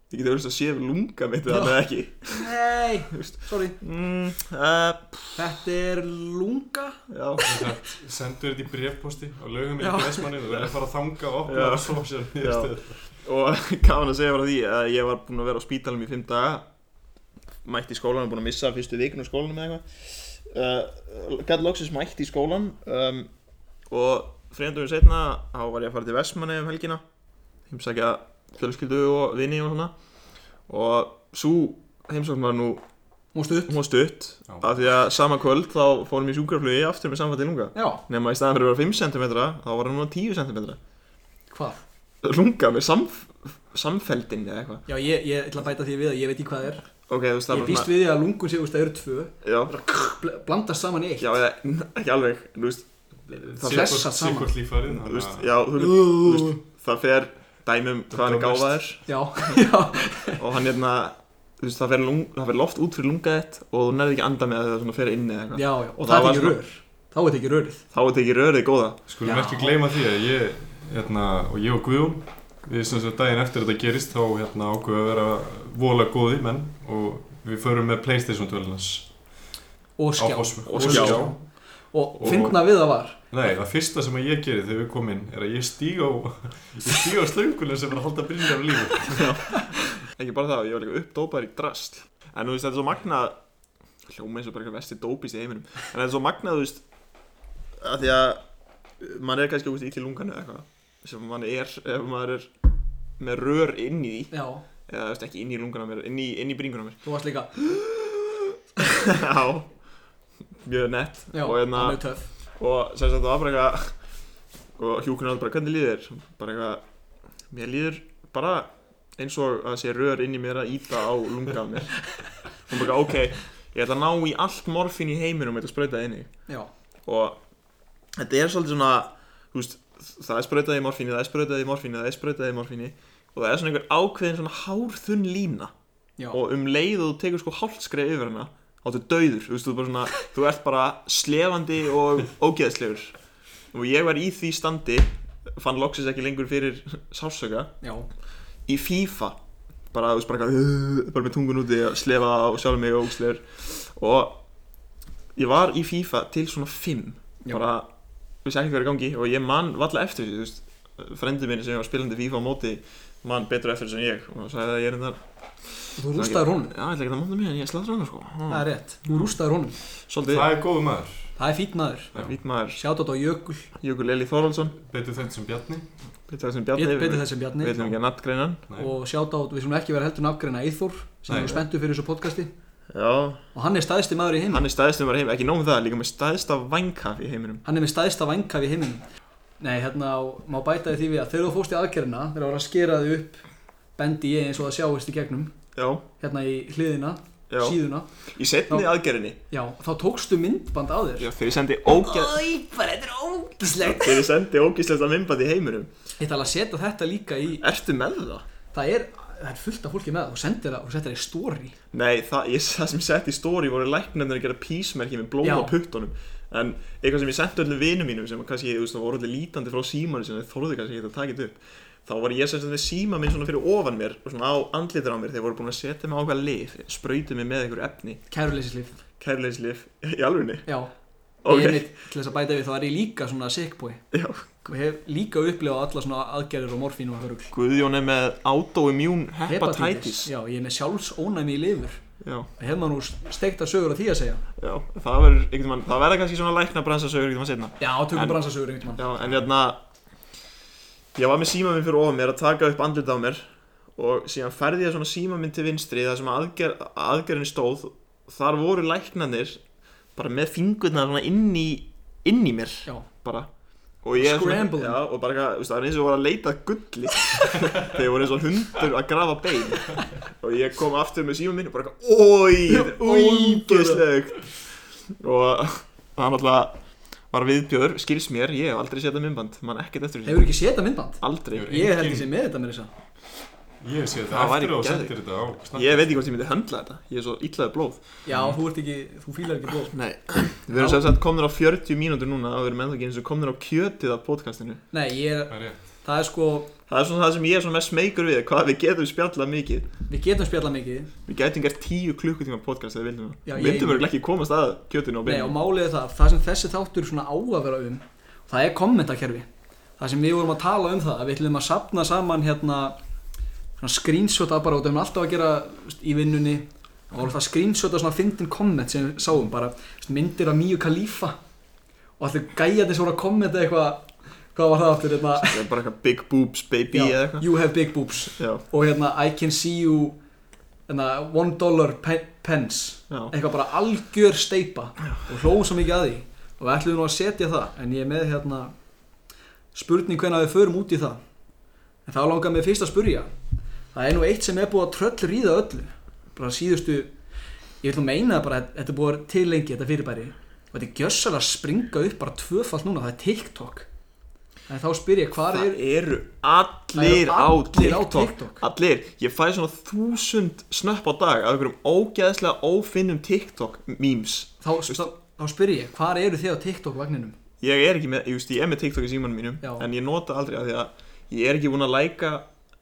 S4: þið getur augljóslega að sé ef lunga mitt eða ekki
S2: Nei,
S4: veist.
S2: sorry
S4: mm, uh,
S2: Þetta er lunga
S4: já
S3: Þetta sendur þetta í brefposti á laugum í
S2: Já.
S3: Vesmanni og verður að fara að þanga og
S4: Já.
S3: opna og svo sér niðurstöður.
S4: og gaman að segja frá því að ég var búinn að vera á spítalum í fimm daga mætti í skólanum, búinn að missa fyrstu vikun á skólanum eða eitthvað uh, gæti loksins mætti í skólan um, og þrejandum setna þá var ég að fara til Vestmanni um helgina heimsækja fjölskyldu og vini og svona og svo heimsókn var nú
S2: Mústu upp
S4: hún var stutt
S3: Já.
S4: af því að sama kvöld þá fórum við sjúkraflugi aftur með samfætti lunga
S2: Já,
S4: nema í staðan fyrir að vera 5 cm þá var hann núna 10 cm
S2: hvað?
S4: lunga með samf samfeldin eða eitthvað
S2: Já, ég, ég ætla að bæta því við að ég veit í hvað það er
S4: Ok, þú veist það
S2: Ég býst við því að lungun sé, þú veist, það eru tvö
S4: Já,
S2: bl- Blandast saman í eitt
S4: já eða, n- ekki alveg Þú veist,
S2: Það
S4: Sér-
S2: flessast saman
S3: Sikkort lífarið.
S4: þú
S3: þannig
S4: veist,
S3: að-
S4: já, þú þú veist Það fer dæmum hvað hann er
S3: Dómest.
S4: gáfaður
S2: Já, já
S4: Og hann hérna, þú veist, það fer, lung, það fer loft út fyrir lungað þitt Og þú nærði ekki að anda með það þegar það svona fer inni eða eitthvað
S2: Já, já, og
S4: það
S2: það er
S4: var
S2: ekki
S4: svona-
S2: rör Þá er þetta ekki rörið
S4: Þá er þetta ekki rörið góða
S3: Skulum
S2: Já.
S3: ekki gleyma því að ég, hérna, og ég og Guðjón, við sem sagt daginn eftir þetta gerist, þá hérna ákveðum við að vera vola góði menn og við förum með Playstation 12 hans
S2: Og
S3: á
S2: skjá
S3: Fossum.
S4: Og skjá.
S2: Og
S3: Og-
S2: fyndna við það var
S3: Nei, það fyrsta sem ég gerir þegar við komum inn er að ég stíg á, ég stíg á slöngulega sem er að halda brynja af lífi.
S4: Ekki bara það, ég var líka uppdópaður í drasl En þú veist, þetta er svo magnað Hljóma eins og bara eitthvað vesti dópist í heiminum En þetta er svo magnað, þú veist að Því að mann er kannski úr í lunganu eða eitthvað Sem mann er, ef maður er með rör inn í því
S2: Já,
S4: eða þú veist ekki inn í lunguna mér inn í, inn í bringuna mér
S2: þú varst líka
S4: já mjög nett
S2: Já,
S4: og,
S2: það
S4: hérna,
S2: er mjög töff
S4: og sem sagt það var bara eitthvað og hjúkurinn áður bara hvernig líður þér?" bara eitthvað mér líður bara eins og að sé rör inn í mér að íta á lunga mér og bara ok ég ætla að ná í allt morfín í heiminum og þetta sprauta inn í
S2: Já,
S4: og þetta er svolítið svona þú veist, það er sprautað í morfíni, það er sprautað í morfíni það er sprautað í morfíni og það er svona einhver ákveðin svona hárþunn lína
S2: já,
S4: og um leið og þú tekur sko hálfskrei yfir hana áttu dauður, þú veist, þú, er bara svona, þú ert bara slefandi og ógeðslegur og ég var í því standi fann loksis ekki lengur fyrir sásöka
S2: já,
S4: í FIFA bara, þú veist, bara, eitthvað, bara með tungun úti að slefa og sjálf mig og ógslegur og ég var í FIFA til svona 5
S2: Já.
S4: bara, þú veist ekki hvað er í gangi og ég man valla eftir því, þú veist frendi minni sem ég var spilandi FIFA á móti man betur eftir þessu en ég og sagði að ég er enda
S2: þú rústaður honum
S4: Já, ég ætla ekki að móta mér en ég slæður hana sko
S2: Það er rétt, þú rústaður honum
S4: Svolítið
S3: Það er góðu maður
S2: Það er fýtt maður
S4: Vít maður
S2: Sjátt á Jökul,
S4: Jökul Eli Þorvaldsson
S3: Betur þetta sem Bjarni
S4: Betur
S2: bet-
S4: þessum Bjarni
S2: betur þess en
S4: Við
S2: Bjarni
S4: viljum ekki að nattgreinan
S3: Nei.
S2: Og sjátt á, við sem ekki vera heldur nafngreina Eithor sem
S3: Nei.
S2: er spenntu fyrir þessu podcasti
S4: Já
S2: og hann er staðisti maður í heiminum
S4: Hann er um staðistum var heim Ekki nóg með það Líka með staðista vanghaf í heiminum
S2: Hann er með staðista vangaf í heiminum Nei, hérna, og má bæta því við að þegar þú fórst í aðgerina þegar það var að skera þig upp bendi ég eins og það sjáist í gegnum
S4: Já
S2: hérna í hliðina,
S4: Já
S2: síðuna
S4: Í setni
S2: Já.
S4: aðgerinni
S2: Já, þá tókstu myndband á þér
S4: Já, þau sendi ógæð
S2: Æ, bara þetta er ógislegt
S4: Þau sendi ógæslegt að mimbað í heiminum
S2: Ég ætla að setja þetta líka í
S4: Ertu með það?
S2: Það er, það er fullt af fólki með það og sendir það og settir það í story
S4: Nei, það, ég, það sem ég sett í stóri voru læknarnir að gera písmerki með blóma
S2: Já.
S4: á puttunum En eitthvað sem ég setti öllum vinum mínum sem kannski, þú veist, það voru allir lítandi frá símanu sem þeir þorðu kannski ekki að taka þetta upp Þá var ég sem sagt með síma minn svona fyrir ofan mér og svona á andlitur á mér Þeir voru búin að setja mig á hvað lif, sprautu mig með einhverju efni,
S2: Kæruleysislif,
S4: kærleislif, í alvegni
S2: já
S4: Ok.
S2: Ég er mitt til þess að bæta við þá er ég líka svona sick boy
S4: Já.
S2: og hef líka upplifað alla svona aðgerðir og morfín og hörugl
S4: Guðjón er með autoimmune hepatitis
S2: Já, ég er með sjálfsónæmi í lifur
S4: Já,
S2: og hef maður nú steikta sögur af því að segja
S4: já, það verður einhvern veginn, það verður kannski svona læknabransasögur einhvern veginn setna
S2: Já, tökum
S4: En-
S2: bransasögur einhvern mann
S4: Já, en hérna Ég var með síma minn fyrir ofan mér að taka upp andlit á mér og síðan færði ég svona síma minn til vinstri þar sem aðger, aðgerðin stóð þar voru læknanir bara með fingurna svona inn í inn í mér
S2: Já,
S4: bara og ég er
S2: Scrambling.
S4: já, og bara eitthvað, þú veist, það er eins og voru að leita að gulli þegar voru eins og hundur að grafa bein og ég kom aftur með síma minn og bara eitthvað, oi, ógeðslegt og það náttúrulega var viðbjör, skils mér, ég hef aldrei setjað myndband, mann ekkert eftir
S2: hefur ekki séð þetta myndband?
S4: aldrei,
S3: Hefur-
S2: Ég held
S3: Engin-
S2: ég sé með þetta með þess að
S3: Ég sé þetta
S4: Það væri
S3: eftir að þú
S4: geðveikt.
S3: sendir þetta á Snapchat.
S4: ég veit ekki hvort ég myndi höndla þetta, ég er svo illaði blóð
S2: Já, þú ert ekki, þú fílar ekki blóð
S4: Nei, við erum sem sagt komnir á 40 mínútur núna og við erum ennþá ekki eins og komnir á kjötið af podcastinu
S2: Nei, ég er,
S3: Það er rétt
S2: það er sko,
S4: Það er svona það sem ég er svona mest smeykur við, hvað við getum spjallað mikið
S2: við getum spjallað mikið
S4: Við gætum gert tíu klukkutíma podcast eða vildum
S2: Já,
S4: það
S2: ég-
S4: Vildum við ekki komast að
S2: Nei,
S4: kjötinu á
S2: og
S4: beinu
S2: málið er það, það sem þessi þáttur svona á að vera um, það er kommentakerfi. Það sem við vorum að tala um það, að við ætlum að sapna saman hérna, svona screenshota bara, og það erum alltaf að gera þú veist, í vinnunni, og vorum það screenshota svona fyndin komment sem við sáum, bara þú veist, myndir af Míu Khalifa, og allir gæjarnir sem voru að kommenta eitthvað, hvað var það aftur, hérna,
S4: Það er bara eitthvað big boobs baby eða eitthvað
S2: you have big boobs,
S4: Já,
S2: og hérna, I can see you, hérna, one dollar pe- pence
S4: já,
S2: eitthvað bara algjör steipa og hlóðum svo mikið að því og við ætlum nú að setja það en ég er með hérna spurning hvenær við förum út í það en þá langar mig fyrst að spurja það er nú eitt sem er búið að tröll ríða öllu bara síðustu ég ætlum að meina bara að þetta er búið að vera til lengi þetta fyrirbæri og þetta er gjössalega að springa upp bara tvöfalt núna, það er TikTok en þá spyr ég hvað
S4: Það
S2: er
S4: eru
S2: Það
S4: allir,
S2: eru allir á
S4: á TikTok.
S2: TikTok.
S4: Allir, ég fæ svona þúsund snöpp á dag af einhverjum ógeðslega ófinnum TikTok memes
S2: þá, þá, þá spyr ég hvað eru þið á TikTok vagninum
S4: Ég er ekki með, ég veist, ég er með TikTok í símanum mínum
S2: Já.
S4: En ég nota aldrei af því að ég er ekki búinn að læka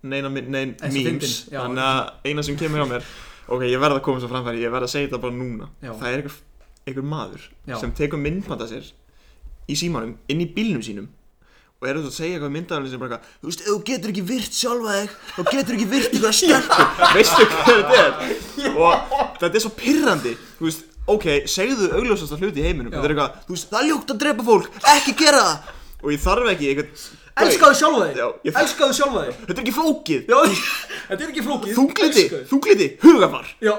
S4: neina mi- nein
S2: Þessi
S4: memes
S2: fyndin, já.
S4: Þannig að eina sem kemur á mér Ok, ég verð að koma svo framfæri, ég verð að segja þetta bara núna
S2: Já.
S4: Það er einhver, einhver maður
S2: Já.
S4: sem tekur myndbanda sér í símanum, inn í bílnum sínum og er þetta að segja eitthvað myndaðarinn sem bara eitthvað, þú veist, ef þú getur ekki virt sjálfa þig þá getur ekki virt eitthvað stelpur veistu hvað þetta er og þetta er svo pirrandi þú veist, ok, segðu augljósasta hluti í heiminum
S2: Já.
S4: þetta er eitthvað, þú veist, það er ljótt að drepa fólk ekki gera það og ég þarf ekki eitthvað
S2: Elskaðu sjálfa þig!
S4: Já, ég-
S2: Elskaðu sjálfa þig!
S4: þetta er ekki flókið
S2: Já, þetta er ekki flókið
S4: þungliti,
S2: Elskaðu.
S4: þungliti, hugafar
S2: Já,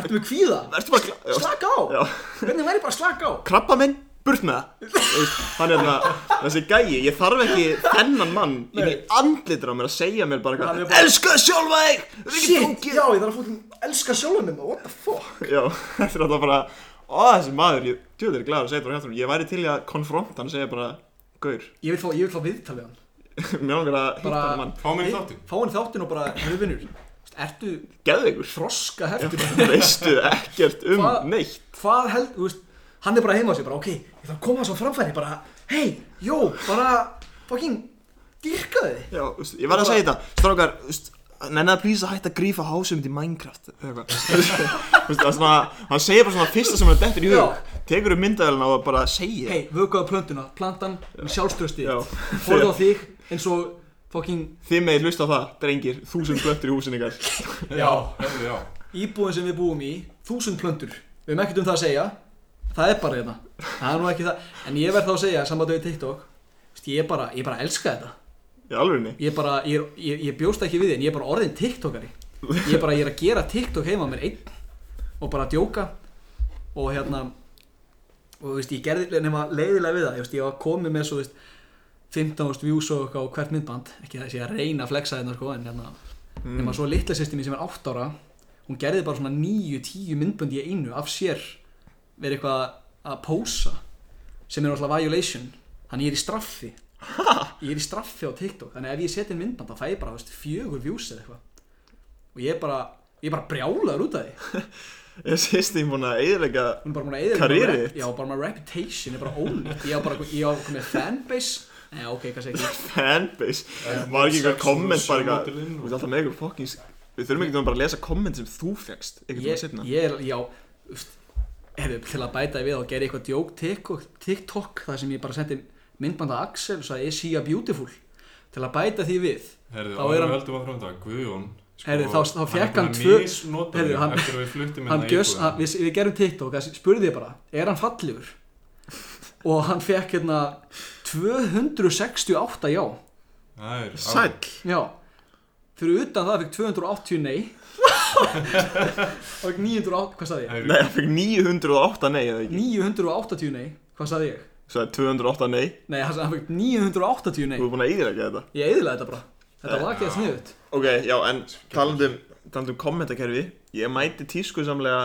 S2: ertu með kvíða?
S4: ertu bara
S2: Slaka á
S4: Já.
S2: Hvernig væri bara að slaka á?
S4: krabba minn burt með það Þú veist, hann er þarna þessi gæi, ég þarf ekki þennan mann í mér andlitur á mér að segja mér bara
S2: Hann er
S4: hvað
S2: bara-
S4: elska sjálfa þig, það er ekki
S2: Shit, já, ég þarf að fólk elska sjálfum mig, what the fuck
S4: Já, þetta er alltaf bara Ó, þessi maður, ég tjóður er glæður að segja þetta frá hjartanum Ég væri til í að konfronta hann og segja bara Gaur,
S2: Ég vil fá, ég vil fá viðtal við hann
S4: mér langar að hitta
S2: Bara-
S4: hann mann
S3: Fá mér í þáttin
S2: Fá hann í þáttin og bara, hörru vinnur Ertu
S4: Geðveikur,
S2: froska heftur
S4: veistu ekkert um
S2: Hvað-
S4: neitt
S2: Hvað held, þú veist Hann er bara heima á sér, bara ok, ég þarf að koma þessu á framfæri Bara, hei, jó, bara Fucking, dyrka þið
S4: Já, þú veist, ég verð að segja þetta, strákar, þú veist, nenni að plýsa hægt að grífa hásum til Minecraft eða eitthvað Þú veist, það er svona, hann segir bara svona fyrsta sem hann dettur í hug Tekur um myndaðelina og bara segir
S2: Hei, vökuða plöntuna, plantan, sjálfströsti
S4: Já.
S2: Horfðu á þig eins og fucking
S4: Þið megið hlusta á það, drengir, þúsund blöttur í húsin ykkar
S3: Já, þetta er já
S2: íbúin sem við búum í þúsund plöntur við hefum ekkert um það að segja það er bara þetta það er nú ekki það en ég verð þá að segja saman við TikTok veist, ég bara ég bara elska þetta
S4: Í alvörinni
S2: ég bara ég, er- ég, ég bjóst ekki við því en ég er bara orðin TikTokari ég bara ég er að gera TikTok heima á mér einn og bara að djóka og hérna og þú veist ég gerði nema leiðilega við það ég veist ég var komið með svo þú veist 15.000 views og eitthvað á hvert myndband ekki þessi að reyna að flexa þetta sko en hérna nema svo litla sýstir mín sem er 8 ára hún gerði bara svona 9-10 myndbönd í einu af sér verið eitthvað að pósa sem er alltaf violation þannig ég er í straffi ég er í straffi á TikTok þannig ef ég seti inn myndband þá fæ ég bara þú veist, fjögur views eða eitthvað og ég er bara ég er bara brjálaður út af því
S4: Ég sést því búin að eyðilega
S2: hún er bara múin að eða
S4: Karrierið þitt?
S2: já bara maður reputation er bara ónýtt ég á bara ég á komið fanbase já ok kannski ekki
S4: fanbase Var ekki eitthvað komment bara eitthvað
S3: Sjómodellinn og-
S4: Þú veist alltaf með eitthvað fokkings Við þurfum ekki bara að lesa komment sem þú fegst Eitthvað
S2: ég,
S4: tíma setna
S2: ég er, já ust, hefði til að bæta við og gera eitthvað djók TikTok, TikTok þar sem ég bara sendi myndbanda Axel og sagði is he a beautiful til að bæta því við
S3: Herðu,
S2: Þá
S3: áður
S2: er
S3: en
S2: hann-
S3: við höldum að framönda Guðjón sko,
S2: Heyrðu, þá- þá fékk hann tvö-
S3: tvö Misnotaði
S2: Heyrðu, hann-
S3: eftir að við fluttum hérna
S2: hann gjöss, hann, við, við gerum TikTok að spurði ég bara, er hann fallegur og hann fekk hérna 268 já
S3: hann
S4: Sæll
S2: já, fyrir utan það fekk 280 nei og 908 hvað sagði ég?
S4: Nei, hann fekk 908 nei eða ekki
S2: 980 nei, hvað sagði ég?
S4: Svo það er 208 nei
S2: Nei, hann hann fekk 980 nei
S4: Þú er búin að eyðilega þetta
S2: Ég eðilaði þetta bara Þetta var ekki að sniðut
S4: Ok, já, en talandum, talandum um kommentakerfi Ég mæti tískusamlega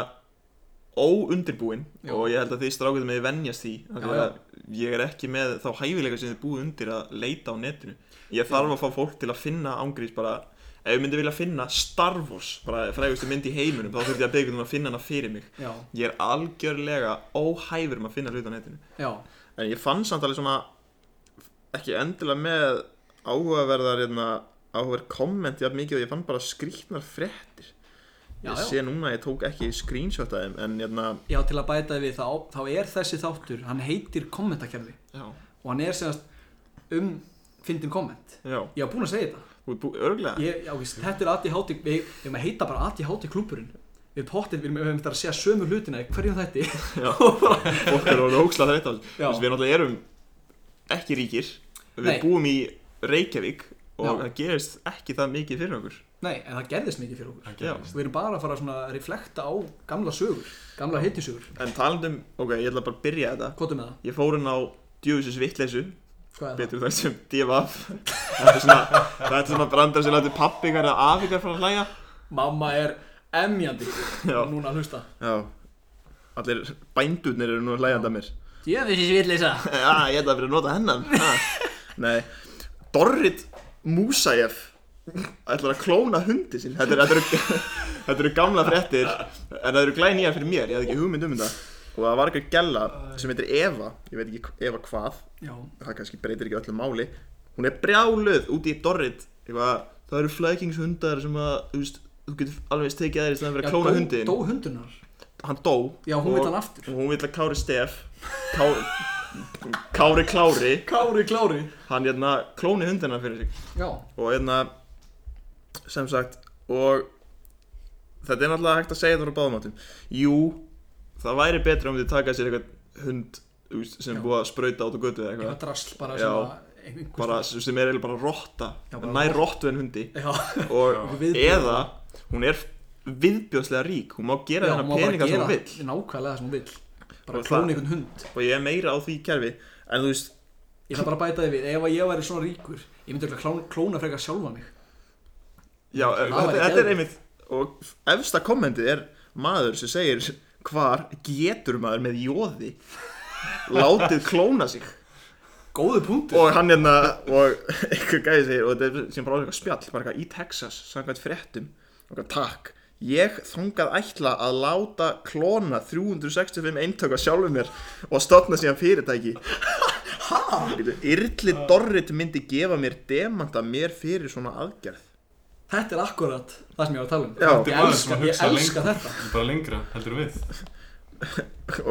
S4: óundirbúinn
S2: Já.
S4: Og ég held að þið strákuðu með venjast því af því
S2: Já, já.
S4: að Ég er ekki með þá hæfileika sem þið búið undir að leita á netinu Ég þarf að fá fólk til að finna ángrís bara Ef ég myndi vilja finna Star Wars Bara frægustu mynd í heiminum Þá þurfti ég að byggja um að finna hana fyrir mig
S2: Já,
S4: Ég er algjörlega óhæfur um að finna hlut á netinu
S2: já,
S4: En ég fann samt alveg svona ekki endilega með áhugaverðar hérna, áhugaverð komment jafn mikið og ég fann bara skrýtnar fréttir
S2: Já,
S4: Ég
S2: já.
S4: sé núna að ég tók ekki screenshot af þeim en hérna
S2: já til að bæta við þá, þá er þessi þáttur, hann heitir kommentakerfi
S4: Já,
S2: og hann er semast um fyndin komment
S4: já,
S2: Ég var búinn að segja þetta
S4: þú ert búið örglega
S2: ég, já, veist, Þetta er aðti háti, við við erum að heita bara aðti háti klúburinn Við pottir, við erum eftir að segja sömu hlutina í hverjum þætti
S4: Já, fólk eru orðið óksla þreytt á þessu
S2: Já.
S4: Þess, Við náttúrulega erum ekki ríkir Við
S2: Nei.
S4: búum í Reykjavík
S2: Já.
S4: og það gerist ekki það mikið fyrir okkur
S2: Nei, en það gerðist mikið fyrir okkur
S4: Já.
S2: Við erum bara að fara svona að reflekta á gamla sögur, gamla hittisögur
S4: En talandum, ok, ég ætla bara að byrja þetta
S2: Kvotum með það,
S4: Ég fór hann á djöfisins vitleisu
S2: hvað er það?
S4: betur þar sem divaf þetta er svona, þetta er svona brandar sem lætur pappi ykkar eða af ykkar fara að hlæja
S2: Mamma er emjandi
S4: Já.
S2: Núna að hlusta
S4: já allir bændurnir eru nú hlæjandi að mér
S2: Ég veist ég vil leysa
S4: já, ég ætla að fyrir að nota hennan ha. nei, Dorrit Musaev ætlar að klóna hundi sinn þetta eru- þetta eru þetta eru gamla fréttir en það eru glænýjar fyrir mér, ég hafði ekki hugmynd um þetta og það var eitthvað gælla sem heitir Eva ég veit ekki Eva hvað
S2: Já,
S4: það kannski breytir ekki öllu máli hún er brjáluð úti í Dorrit eitthvað, það eru flækingshundar sem að, þú veist, þú getur alveg eins tekið aðeins þannig að vera að klóna
S2: dó-
S4: hundin
S2: Dó hundunar
S4: hann dó
S2: Já, hún vill
S4: og-
S2: hann aftur.
S4: og hún vil að Kári Stef Kári, Kári Klári
S2: Kári klári
S4: hann hérna klóni hundina fyrir sig
S2: Já,
S4: og hérna sem sagt og þetta er náttúrulega hægt að segja þetta frá báðumátum jú, það væri betra um þið taka sér eitthvað hund þú veist, sem er
S2: Já.
S4: búið að sprauta át og götu eða eitthvað
S2: eitthvað drasl bara
S4: Já.
S2: sem að einhver-
S4: bara, sem sem er eiginlega bara rotta
S2: Já, bara
S4: nær rottu en hundi
S2: Já,
S4: og
S2: Viðbjóð.
S4: eða hún er viðbjóðslega rík hún má gera
S2: já,
S4: þennan
S2: má bara
S4: peninga sem
S2: gera
S4: hún vill
S2: Nákvæmlega það sem hún vill bara
S4: Og
S2: klóna
S4: það-
S2: einhvern hund
S4: og ég er meira á því kerfi en þú veist,
S2: ég ætla bara að bæta þið við, ef að ég væri svona ríkur ég myndi örugglega klón, klóna frekar sjálfa mig
S4: já, eh,
S2: Það
S4: þetta,
S2: væri
S4: þetta er
S2: geðveikt.
S4: einmitt og efsta kommentið er maður sem segir hvar getur maður með jóði látið klóna sig
S2: góðu punktur
S4: og hann hérna og einhver gæði segir og þetta er sem bara á eitthvað spjall bara eitthvað í Texas, samkvæmt fréttum og eitthvað takk ég þangað ætla að láta klóna 365 eintöku af sjálfum mér og stofna síðan fyrirtæki Bíddu, Yrli Dorrit myndi gefa mér demanta mér fyrir svona aðgerð
S2: þetta er akkurat það sem ég var að tala um
S4: Já.
S2: ég
S3: Þetta er maður sem
S2: elska,
S3: að
S2: ég
S3: hugsa
S2: elska
S3: lengra.
S2: þetta
S3: Bara lengra, heldur við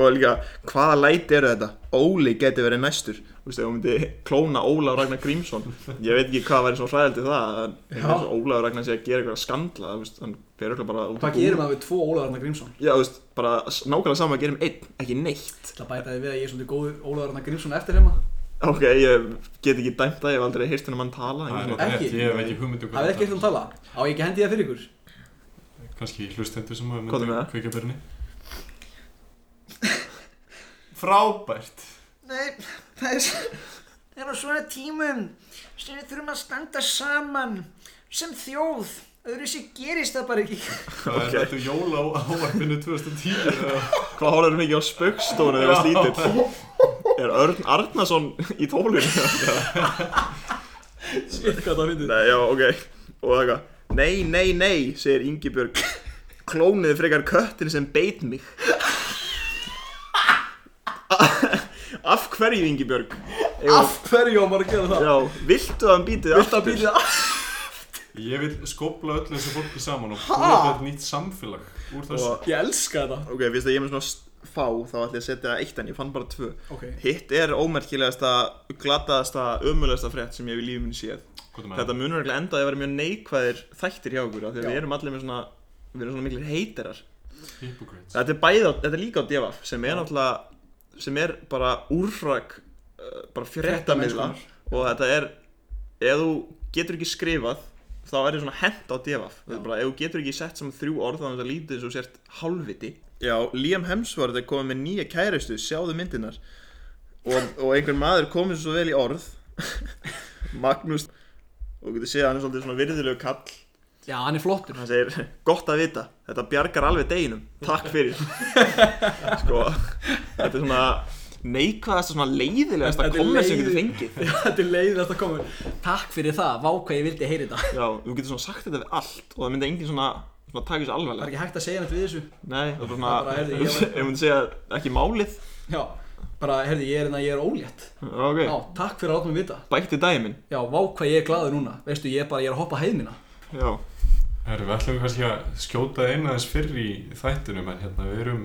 S4: og líka, hvaða læti eru þetta? Óli geti verið næstur Þú veist, ef hún myndi klóna Óla Ragnar Grímsson Ég veit ekki hvað væri svo hræðildi það en
S2: Já.
S4: ef Óla Ragnar sé að gera eitthvað skandla þú veist, hann fer örugglega bara út
S2: hvað
S4: búð.
S2: gerir maður við tvo Ólaður Arnar Grímsson
S4: Já, þú veist, bara s- nákvæmlega sama að gera um einn, ekki neitt
S2: ég ætla að bæta þið við að ég er svona góðu Ólaður Arnar Grímsson eftir hérna. heima
S4: Ok, ég get ekki dæmt það, ég hef aldrei heyrt hennar mann tala en
S3: Það
S4: ég svona-
S3: er rétt,
S2: Ekki?
S3: ég hef ekki um hugmyndu
S2: hafið þið ekki eftir að tala á ég ekki að hendi það fyrir ykkur
S3: Kanski hlustendur sem að
S4: Hvað er
S3: myndu
S4: með það?
S3: kveikja börni Frábært
S5: Nei, það er, það er á svona tímum sem við þurfum að standa saman sem þjóð. Öðru sér gerist það bara ekki.
S3: Það
S4: Ok.
S3: er þetta jóla á ávarpinu 2010 eða-
S4: Hvað horfður mikið á spöggstofunni þegar það slítill? Er Örn Arnason í tólinu?
S2: Shit, hvað það finnir
S4: Nei, já, ok Og það eitthvað Nei, nei, nei, segir Ingibjörg Klónið frekar köttin sem beit mig Af hverju, Ingibjörg? Eigum-
S2: af hverju á maður að gera það
S4: Já, viltu að hann bítið
S2: vilt að býta
S3: Ég vil skopla öllu þessu fólki saman og búa til eitt nýtt samfélag úr þessu
S4: Og,
S2: ég elska þetta
S4: Ok, fyrst að ég er með svona s- fá Þá ætla ég að setja eitt en ég fann bara tvö
S2: ok
S4: Hitt er ómerkilegasta, glataðasta, ömulegasta frétt sem ég hef í lífum minni séð
S3: Hvað er með það?
S4: Þetta munur ekki enda að vera mjög neikvæðir þættir hjá okkur af Því að
S2: Já.
S4: við erum allir með svona, við erum svona miklir heiterar
S3: Hypocrites
S4: Þetta er, bæði, á- þetta er líka á DFF sem er náttúrulega sem er bara úrrak uh, bara fréttamiðla
S2: Fréttamennskunnar.
S4: og þetta er ef þú getur ekki skrifað þá er þetta svona hent á DFF Þetta er bara, ef þú getur ekki sett saman þrjú orð þá er þetta lítið eins og þú sért hálfviti Já, Liam Hemsworth er komið með nýja kærustu sjáðu myndirnar og, og einhver maður komið svo vel í orð Magnús og þú getur séð að hann er svolítið svona virðilegu kall
S2: já hann er flottur
S4: hann segir, gott að vita, þetta bjargar alveg deginum, takk fyrir sko, þetta er svona neikvæðasta, svona leiðilegasta
S2: Þetta er
S4: komment sem þú getur
S2: leiði-
S4: fengið
S2: þetta er leiðast að koma takk fyrir það vá hvað ég vildi heyri þetta
S4: já, þú getur svona sagt þetta við allt og það myndi enginn svona, svona taka þessu
S2: það er
S4: alvarlega
S2: ekki hægt að segja neitt við þessu
S4: nei, það er bara
S2: Það bara,
S4: svona,
S2: heyrðu, ég
S4: ef
S2: var-
S4: ég myndi segja ekki málið,
S2: já bara herði ég er en að ég er ólétt
S4: ok
S2: já takk fyrir að láta mig vita
S4: bætti dæmin,
S2: já vá hvað ég er glaður núna veistu ég er bara ég er að hoppa heiðmina
S4: já
S3: Herru, við ætlum kannski að skjóta eina þess fyrr í þættinum en hérna við erum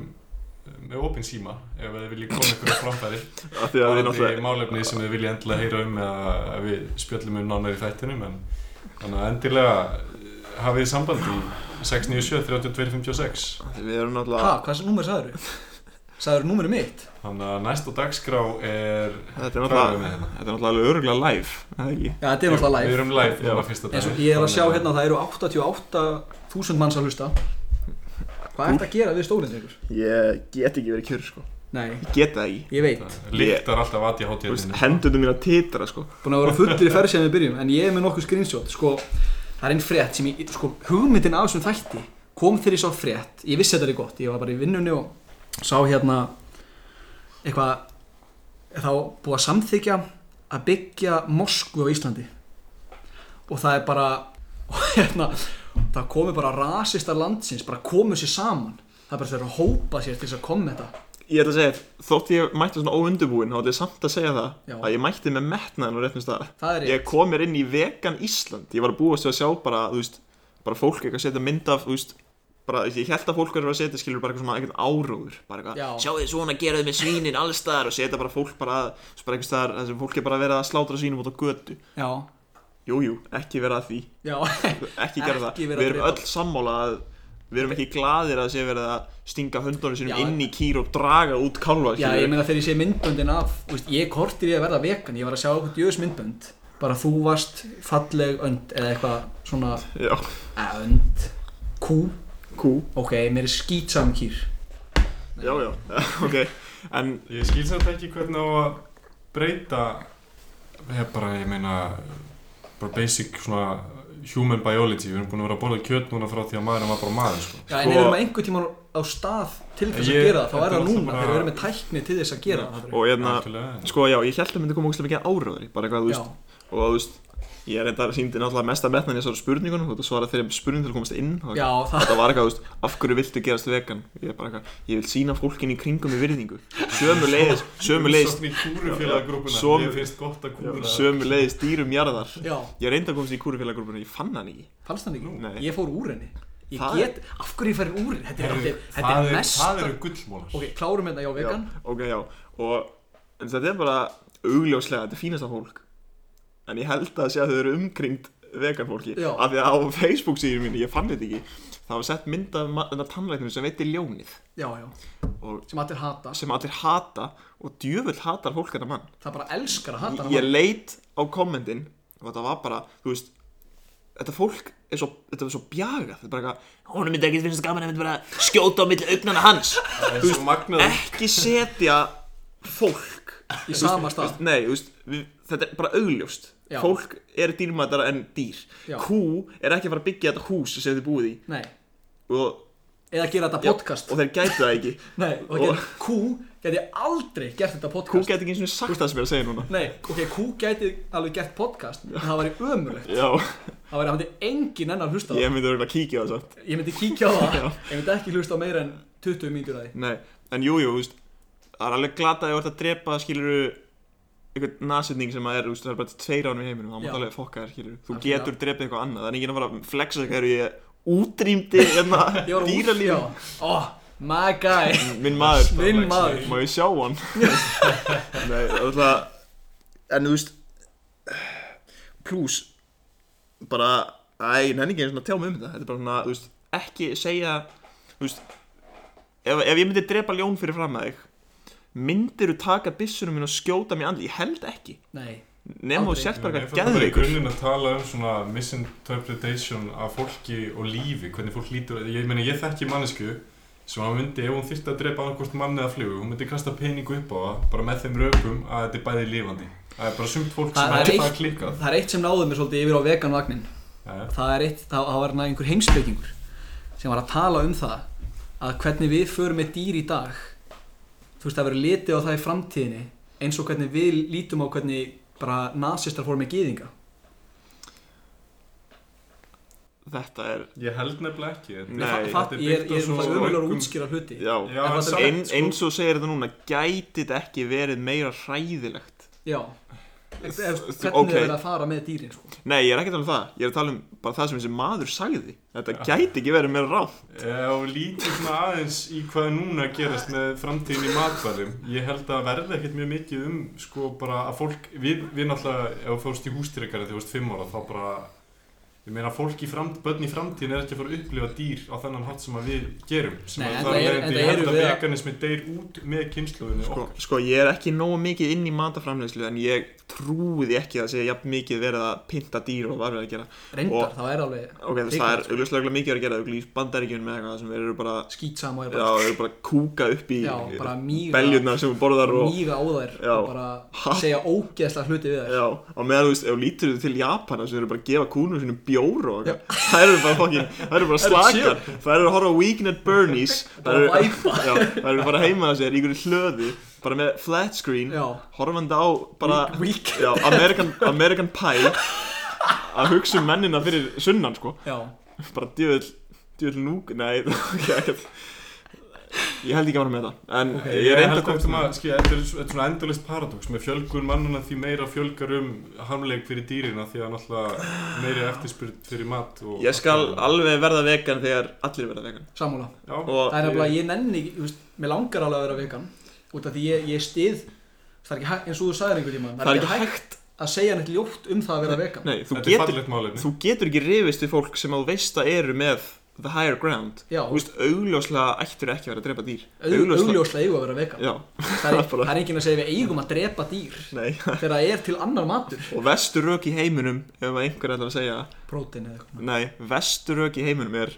S3: eh, með opinn síma ef þið viljið koma ykkur á framfæri
S4: af því að við
S3: Það er
S4: náttúrulega
S3: málefni sem þið viljið endilega heyra um eða að við spjöllum um nánar í þættinum en þannig að endilega eh, hafið þið samband í 697 3256
S4: af því við erum
S2: ha
S4: náttúrulega,
S2: hvað númer sagður sagður númeru mitt
S3: Þannig að næst á dagskrá er
S4: þetta er
S3: Hvað erum við
S4: náttúrulega
S3: hérna?
S4: þetta er náttúrulega alveg örugglega live, er það ekki
S2: já þetta er náttúrulega
S3: Við
S2: live
S3: erum live núna
S4: Já.
S3: fyrsta dag
S2: eins og ég er að sjá hérna að það eru 88.000 manns að hlusta hvað ert að gera við stólinn ykkur
S4: ég get ekki verið kjör, sko
S2: nei
S4: ég get það ekki,
S2: ég veit
S3: Líktar alltaf aðja
S4: Þú veist,
S3: hátíðinni
S4: hendunum mína titra, sko
S2: búin að vera fullir í ferð sem við byrjum en ég er með nokkuð screenshot sko, það er einn frétt sem ég, sko, hugmyndin af þessum þætti kom þegar ég sá frétt ég vissi þetta er gott, ég var bara í vinnunni og sá hérna eitthvað þá búið að samþykja að byggja Moskvu á Íslandi og það er bara og hérna, það komi bara rasistar landsins, bara komu sér saman það er bara þeirra að hópa sér til þess að koma þetta
S4: Ég ætla að segja, þótt ég mætti svona óundubúinn þá ætla ég samt að segja það
S2: Já.
S4: að ég mætti með metnaðin á réttum stað
S2: Það er rétt.
S4: Ég kom mér inn í vegan Ísland Ég var að búast við að sjá bara, þú veist bara fólk eitthvað að setja mynd af, þú veist bara, ég held að fólk er að vera að setja skilur bara eitthvað svona eitthvað áróður, bara
S2: Já.
S4: eitthvað sjáu þið svona geraðu með svínin alls staðar og setja bara fólk bara, að- þú veist, bara einhvers staðar þar sem fólk er bara að vera að slátra svínum út á götu
S2: já,
S4: Jújú, jú, ekki vera að því
S2: já,
S4: ekki gera það,
S2: Ekki vera að
S4: við erum
S2: drepa.
S4: öll sammála að við erum ekki gladir að sé verið að stinga höndunum sínum
S2: Já.
S4: inn í kýr og draga út kálva
S2: Já,
S4: skilur
S2: ég
S4: við.
S2: meina þegar ég sé myndböndin af þú veist, ég kortir ég að verða vegan, ég var að sjá eitthvað djöðs myndbönd bara þú varst falleg önd eða eitthvað svona
S4: Já,
S2: eh, önd, kú
S4: kú
S2: ok, mér er skýtsam kýr
S4: Já, já, ok en
S3: Ég skil þetta ekki hvernig á að breyta ég bara, ég meina bara basic svona human biology, við erum búin að vera að borða kjöt núna frá því að maðurinn var bara maður sko.
S2: Já, en
S4: Sko-
S2: erum við einhver tíma á stað til þess að
S3: Ég-
S2: gera það, þá
S3: þetta
S2: er
S3: er
S2: það
S3: náttúrulega
S2: núna
S3: bara-
S2: þegar við erum með tækni til þess að gera það
S4: og hérna
S3: Algjörlega, en-
S4: sko já, ég held að myndi koma ógæslega mikið að áraður bara eitthvað, þú
S2: Já,
S4: veist, og þú veist ég er reyndar síndi náttúrulega mesta metnan í þessari spurningunum þú svarað þeirri spurning til að komast inn og
S2: já, það
S4: þetta var eitthvað, þú veist, af hverju viltu gerast vegan ég er bara eitthvað, ég vil sína fólkinni í kringum í virðingu, sömu leiðis sömu leiðis,
S3: Umsókn í kúrufélagagrúpuna,
S4: Som-
S3: mér finnst gott að kúra
S4: sömu leiðis dýrum jarðar
S2: Já,
S4: ég reyndi að komast í kúrufélaggrúfuna, ég fann hann ekki
S2: fannst það
S4: Nú. Nei.
S2: ekki? Ég fór úr henni Ég
S4: Það-
S2: get, af hverju ég fær úr henni? Þetta er,
S3: Heyrðu,
S2: þetta er, þetta
S3: það
S2: er
S3: er-
S2: mesta
S3: Það eru gullmólar
S2: Ok, klárum hérna, já, vegan
S4: já, ok, já, og en þetta er bara augljóslega, þetta er fínasta fólk en ég held að sé að þau eru umkringd vegan fólki,
S2: Já.
S4: af því að á Facebook síður minni, ég fann þetta ekki það var sett mynd af ma- þarna tannlæknum sem veitir ljónið
S2: Já, já,
S4: og
S2: sem allir hata
S4: sem allir hata og djöfull hatar fólk þetta mann
S2: Það bara elskar að hata
S4: ég, ég leit á kommentin og þetta var bara, þú veist þetta fólk er svo, þetta var svo bjagað þetta er bara eitthvað,
S6: Honum myndi ekki finnst gaman að myndi bara skjóta á milli augnana hans
S3: Það er svo magnað
S4: ekki setja fólk
S2: hana í sama stað
S4: Nei, þú veist, við, þetta er bara augljóst
S2: Já.
S4: Fólk er dýrmætara en dýr
S2: Já.
S4: Hú er ekki að fara að byggja þetta hús sem þið búið í
S2: Nei,
S4: og,
S2: eða gera þetta
S4: já,
S2: podcast
S4: og þeir gætu það ekki
S2: Nei, og
S4: og-
S2: get, Q geti aldrei gert þetta
S4: Hú
S2: podcast
S4: gæti ekki eins og sagt það sem ég er að segja núna
S2: Nei, ok, Q geti alveg gert podcast en það væri ömurlegt
S4: Já,
S2: Það væri að myndi engin enn að hlusta á það
S4: ég myndi auðvitað kíkja á það samt
S2: Ég myndi kíkja á það
S4: Já.
S2: Ég myndi ekki hlusta á meira en 20 mínútur að því
S4: Nei, en jú, jú, þú veist Það er alveg glata að ég vart að drepa, skiluru einhvern nasetning sem að er, þú veist, það er bara tveir ánum í heiminum Það
S2: Já.
S4: mátt alveg fokka þér, skiluru Þú
S2: Algjörlega.
S4: getur drepið eitthvað annað, það er ekki að fara að flexa eitthvað eru ég útrýmdi hérna
S2: Ég var
S4: dýralíf
S2: úr Ó, oh, my guy
S4: Minn maður
S2: Minn maður
S4: Má ég sjá hann? Nei, alltaf En þú veist Plus Bara Æ, ég nenni ekki einu svona að tjá mig um þetta Þetta er bara svona, þú veist Ekki segja Þú veist Ef, ef ég myndi drepa ljón fyrir fram að þig Myndirðu taka byssunum mín og skjóta mér andli Ég held ekki
S2: Nei,
S4: Nefn þú
S2: Aldrei.
S4: sért bara
S3: Ég
S4: eitthvað
S3: fór bara í
S4: geðveikur
S3: grunninn að tala um svona misinterpretation af fólki og lífi, hvernig fólk lítur ég meina ég þekki mannesku sem hann myndi, ef hún þyrfti að drepa annarkvort mann eða flugu hún myndi kasta peningu upp á það, bara með þeim röpum að þetta er bæði lífandi það er bara sumt fólk
S2: Það-
S3: sem
S2: það er
S3: er bara
S2: eitt-
S3: klikkað
S2: það er eitt sem náði mér svolítið yfir á veganvagnin
S3: Jæja.
S2: Það er eitt, það, það var hérna einhver heimspekingur sem var að tala um það að hvernig við förum með dýr í dag þú veist, það verður litið á það í framtíðinni eins og hvernig við lítum á hvernig bara nasistar fórum með gýðinga
S4: Þetta er
S3: ég held nefnilega ekki þetta-
S4: Nei.
S2: það,
S3: þetta
S2: það, Ég er,
S3: byggt á
S2: ég er
S3: svo
S2: umhverfum að
S3: rökum-
S2: útskýra hluti
S4: Já
S3: Já,
S2: En
S3: en
S2: það er
S3: samt,
S4: En,
S3: sko,
S4: Eins og segir þetta núna Gæti þetta ekki verið meira hræðilegt
S2: Já Ef- ef- Hvernig
S4: ok.
S2: er verið að fara með dýrin sko.
S4: Nei, ég er ekki að tala um það Ég er að tala um bara það sem þessi maður sagði Þetta gæti ekki verið meira rátt
S3: Ef Eh, lítið svona aðeins í hvað er núna að gerast með framtíðin í matvælum Ég held að verði ekkert mjög mikið um sko bara að fólk Við, við náttúrulega, ef þú fórst í hústýrikari þegar þú varst fimm ára þá bara Ég meina fólk í fram, börn í framtíðin er ekki að fara að upplifa dýr á þennan hátt sem að við gerum sem
S2: Nei,
S3: að
S2: en
S3: þar
S2: það er-
S3: leiðandi-
S2: en það
S3: Ég held
S2: eru
S3: að
S2: við að-
S3: veganismi deyr út með kynsluðinu
S4: sko,
S3: okkar
S4: sko, ég er ekki nógu mikið inn í mataframleyslu En ég trúi því ekki að sé jafn mikið verið að pynta dýr og varfið að gera
S2: Reyndar, sko.
S4: Og-
S2: það er alveg
S4: Ok, þess, það er augljóslega mikið verið að gera augljóslega í bandaríkjunum með eitthvað sem þeir eru bara
S2: skýtsam og er
S4: Já,
S2: bara,
S4: þeir eru bara að kúka upp í
S2: Sko. já, bara mýga
S4: beljurnar sem þú borðar og
S2: mýga á þær
S4: Já.
S2: og bara
S4: Ha?
S2: segja ógeðslega hluti við þær
S4: Já, á meðan þú veist, ef þú lítur þú til Japana sem eru bara að gefa kúnum sínum bjór og eitthvað Það eru bara fokkin, það eru bara slakar Það eru að horfa á Weekend at Bernie's Það
S2: bara
S4: eru,
S2: væpa
S4: Já, það eru bara heima að sér í einhverju hlöðu bara með flat screen
S2: Já.
S4: horfandi á bara
S2: Week-
S4: já, American, American Pie að hugsa um mennina fyrir sunnan sko
S2: já,
S4: bara djöðl, djöðl núk nei, ok, ekkert ég held ekki að vera með þetta en ég
S3: Ég
S4: reyndi
S3: held
S4: að
S3: að
S4: koma
S3: þetta maður, skilja, þetta er svo- þetta er svona endalist paradox með fjölgun mannuna því meira fjölgar um hamleik fyrir dýrina því að náttúrulega meiri eftirspyrð fyrir mat og
S4: ég skal alveg verða vegan þegar allir verða vegan
S2: samúla
S3: Já,
S4: og
S2: það er nefnilega, ég nenni, ekki, þú veist, mér langar alveg að vera vegan út af því ég, ég stið það er ekki hægt, eins og þú sagðir einhvern tíma
S4: það er ekki hægt
S2: að segja neitt ljótt um það að vera vegan
S4: nei, þú
S3: Þetta er
S4: getur
S3: fallegt málefni
S4: þú getur ekki rifist við fólk sem að þú veist að eru með the higher ground
S2: Já.
S4: þú veist, augljóslega ættur ekki að vera að drepa dýr
S2: Au- augljóslega eigum við að vera vegan
S4: já,
S2: það er,
S4: bara-
S2: það er enginn að segja við eigum að drepa dýr
S4: nei
S2: þegar það er til annar matur
S4: og vesturök í heiminum ef að einhver ætlar að segja
S2: prótein eða eitthvað
S4: nei, vesturök í heiminum er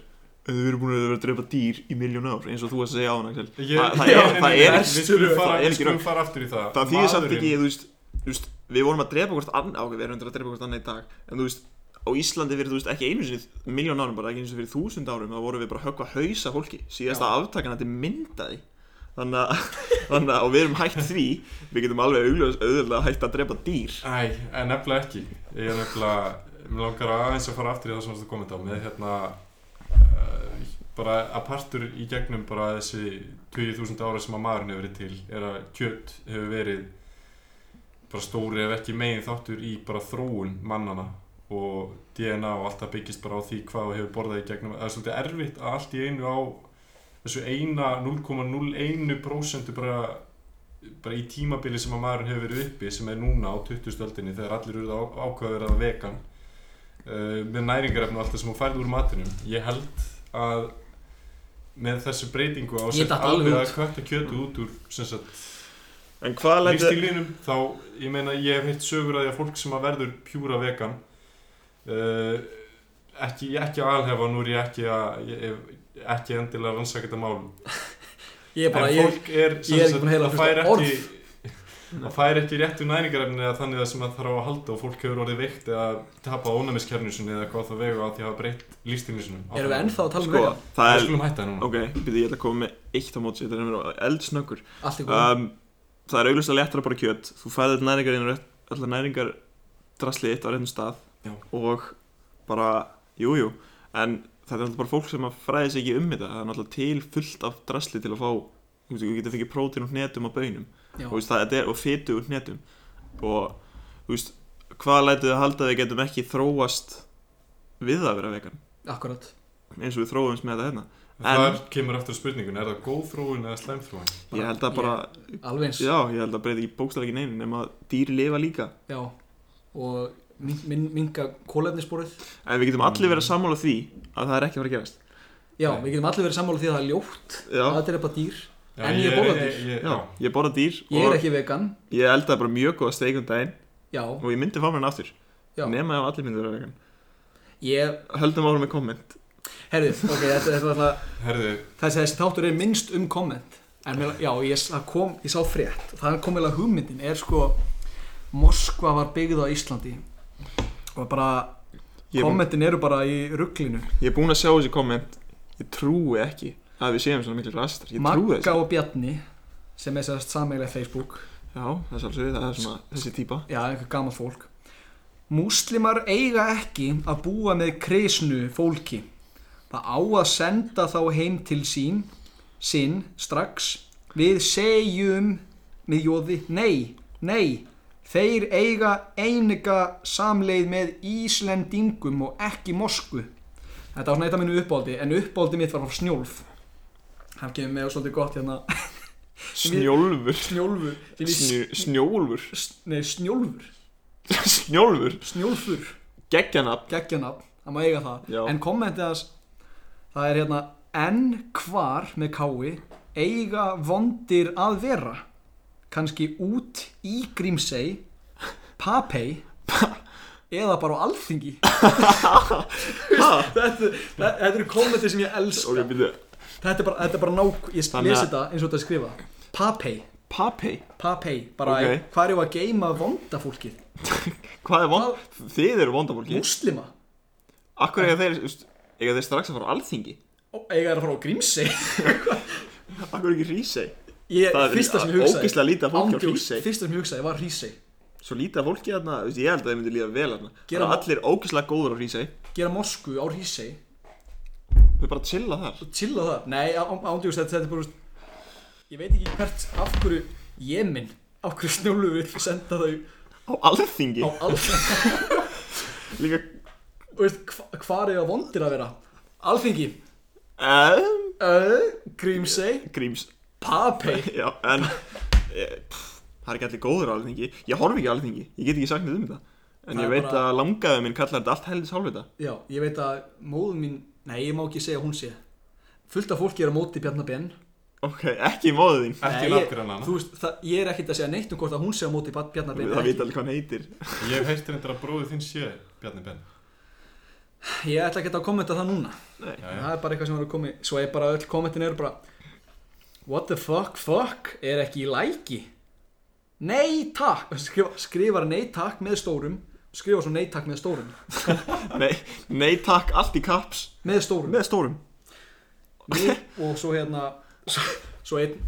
S4: ef þið verið búin að vera að drepa dýr í miljón ár eins og þú varst að segja á hann Axel
S3: Ég-
S4: Þa- það
S3: Já,
S4: er,
S3: en
S4: það er
S3: við
S4: ekki
S3: skulum fara-
S4: það er
S3: Við
S4: ekki
S3: skulum
S4: rögg
S3: fara aftur í það
S4: það þýðir samt ekki
S3: Maðurinn-
S4: þú veist, þú veist, við vorum að drepa hvort annan ok, við erum reyndar að drepa hvort annan í dag en þú veist, á Íslandi fyrir þú veist, ekki einu sinni miljón árum bara, ekki einu sinni fyrir þúsund árum þá vorum við bara að höggva hausa fólki síðasta aftakan þetta er myndaði þannig að, þannig að, og við erum hægt því við getum alveg augljós auðvitað hægt að drepa dýr
S3: Æ, en nefnilega ekki Ég er nefnilega, mér langar aðeins að fara aftur í það sem þú komið á með hérna uh, bara að partur í gegnum bara þessi 20.000 ára sem að maðurinn hefur verið til er að kjött hefur verið bara stóri ef ekki megin þáttur í bara þróun mannana og DNA og allt það byggist bara á því hvað þú hefur borðað í gegnum það er svolítið erfitt að allt í einu á þessu eina 0,01% bara bara í tímabili sem að maðurinn hefur verið uppi sem er núna á 20. öldinni þegar allir eru ákveða að vera vegan uh, með næringarefni og allt það sem hún færði úr matinum ég held að með þessu breytingu á
S2: Ég
S3: sér
S2: datt alveg
S3: alveg
S2: út.
S3: að kvætta kjötu út úr sem sagt
S4: en hvað lætur
S3: lífstílinum þá, ég meina, ég hef heilt sögur að því að fólk sem að verður pjúra vegan uh, ekki, ekki alhefa, nú er ég ekki að ég, ég, ekki endilega rannsaka þetta mál
S2: Ég er bara,
S3: en
S2: ég,
S3: fólk er,
S2: ég er ekki
S3: sem
S2: búin að heyra
S3: sagt,
S2: fyrsta
S3: það fær ekki það fær ekki réttu næringarefni eða þannig að sem það þarf á að halda og fólk hefur orðið veikt eða tapa ónæmiskernusinni eða hvað það vegu á því að hafa breytt lífstílinsinum
S2: erum við ennþá að tala um
S4: sko,
S2: vegan?
S4: það
S3: Við
S4: er
S3: skulum hætta það núna
S4: ok, byrju, ég ætla að koma með eitt á móts þetta er mér eldsnöggur
S2: Allt í góð
S4: um, það er auglustlega léttara bara kjöt þú fæði þetta næringar inn allar næringar draslið eitt á reynum stað
S3: Já.
S4: og bara, jújú jú. en þetta er náttúrulega bara fólk sem að fræði sig ekki um þetta það er náttúrulega til fullt af drasli til að fá þú veist, þú getur fengið prótín og hnetum á bönum
S2: Já.
S4: og, þú veist, það, þetta er, og fitu og hnetum og þú veist, hvað lætu þið að halda að við getum ekki þróast við það að vera vegan
S2: Akkurat
S4: eins og við þróumst með þetta hérna
S3: en,
S4: En-
S3: þar kemur aftur spurningun, er það góð þróun eða slæm þróun
S4: ég held að bara,
S2: Alveg eins
S4: já, ég held að breyta ekki bókstælega ekki neinu nema að dýr lifa líka
S2: Já Og min- min- minga kólefnisporið
S4: En við getum allir verið að sammála því að það er ekki að fara að gerast
S2: Já,
S3: Nei.
S2: við getum allir verið sammála því að það er ljótt
S4: Já,
S2: að drepa dýr
S3: Já,
S2: En ég er bóladýr.
S3: ég-
S4: já, ég borða dýr
S2: Ég er
S4: og
S2: ekki vegan
S4: ég eldaði bara mjög góða steik um daginn
S2: Já,
S4: og ég myndi fá mér hann aftur
S2: Já.
S4: nema ef allir myndi vera vegan
S2: ég,
S4: Höldum ára með komment
S2: herðu, ok, þetta er alltaf
S3: Herðu,
S2: Þessi, þessi þáttur er minnst um komment En mér, já, ég, s- það kom, ég sá frétt og Það kom eiginlega hugmyndin er sko Moskva var byggð á Íslandi Og bara
S4: Ég er búinn-
S2: Kommentin eru bara í rugglinu
S4: Ég er búinn að sjá þessi komment Ég trúi ekki að við séum svona miklu rastar Ég trúi
S2: Magga
S4: þessi
S2: og Bjarni sem er sérst sameigilega Facebook
S4: Já, það er svolítið það er svona þessi típa
S2: já, einhver gammal fólk Múslimar eiga ekki að búa með krisnu fólki það á að senda þá heim til sín sinn strax við segjum með jóði nei, nei þeir eiga einiga samleið með Íslendingum og ekki Mosku þetta var svona eitt af mínu uppáldi en uppáldi mitt var frá Snjólf hann kemur með svolítið gott hérna
S4: Snjólfur
S2: Snjólfur sem ég-
S4: Snj- Snjólfur
S2: s- nei, Snjólfur
S4: Snjólfur
S2: Snjólfur
S4: Geggjanab
S2: geggjanafn, það má eiga það
S4: Já.
S2: en kommentið hans það er hérna en hvar með kái eiga vondir að vera kannski út í Grímsey Papey eða bara á Alþingi þetta, þetta, þetta eru kommentið sem ég
S4: Ok,
S2: elska
S4: byrju
S2: þetta er bara, þetta er bara nák ég
S4: Þannig
S2: lesi
S4: að-
S2: þetta eins og þetta er skrifað Papey,
S4: Papey
S2: Papey bara
S4: Ok.
S2: hvað eru að geima vonda fólkið
S4: Hvað er vond... Þið eru vondafólki
S2: muslima
S4: Akkur eiga þeir, þú veist, eiga þeir strax að fara á alþingi
S2: Ó, eiga þeir að fara á Grímsey
S4: Akkur ekki Rísey
S2: ég,
S4: Það er
S2: fyrsta sem ég hugsaði
S4: ógeðslega lítið af fólki á
S2: Ándjóks,
S4: Hrísey.
S2: fyrsta sem ég hugsaði var Hrísey
S4: Svo lítið af fólki þarna, þú veist, ég held að þið myndi líða vel þarna Það
S2: Gera
S4: eru
S2: má-
S4: allir ógeðslega góður á Rísey
S2: gera mosku á Hrísey
S4: Þau bara chilla þar
S2: og chilla það nei, ándjóks, þetta, þetta er bara ég veit ekki hvert af hverju ég minn af hverju snjólu vil senda þau
S4: Á alþingi
S2: á alþingi
S4: Líka
S2: og veist, hva, hvar er það vondir að vera alþingi
S4: um,
S2: uh, Grímsey
S4: Gríms
S2: Papey
S4: Já, en eh, pff, Það er ekki allir góður á alþingi Ég horf ekki á alþingi, ég get ekki sagt neitt um þetta En
S2: Það
S4: ég
S2: er
S4: veit
S2: bara-
S4: að langaðu minn kallar þetta allt helðis hálfvita
S2: já, ég veit að móðun mín nei, ég má ekki segja að hún sé fullt af fólki er á móti Bjarnabenn
S4: Ok, ekki í móðu þín
S3: ekki nákvæmlega
S2: Þú veist, það, ég er ekkert að segja neitt um hvort að hún sé á móti Bjarnabenn
S4: Það vita allir hvað hann heitir
S3: Ég hef heilt reyndar að bróðið þinn sé Bjarni Ben
S2: Ég ætla ekki að kommenta það núna
S4: Nei.
S2: Það er bara eitthvað sem var að koma í- Svo er bara öll kommentin eru bara What the fuck fuck er ekki í læki Nei takk Skrifa, Skrifar nei takk með stórum Skrifar svo nei takk með stórum
S4: Nei, nei takk, allt í kaps
S2: Með stórum
S4: Með stórum
S2: Nei, Og svo hérna Svo, svo einn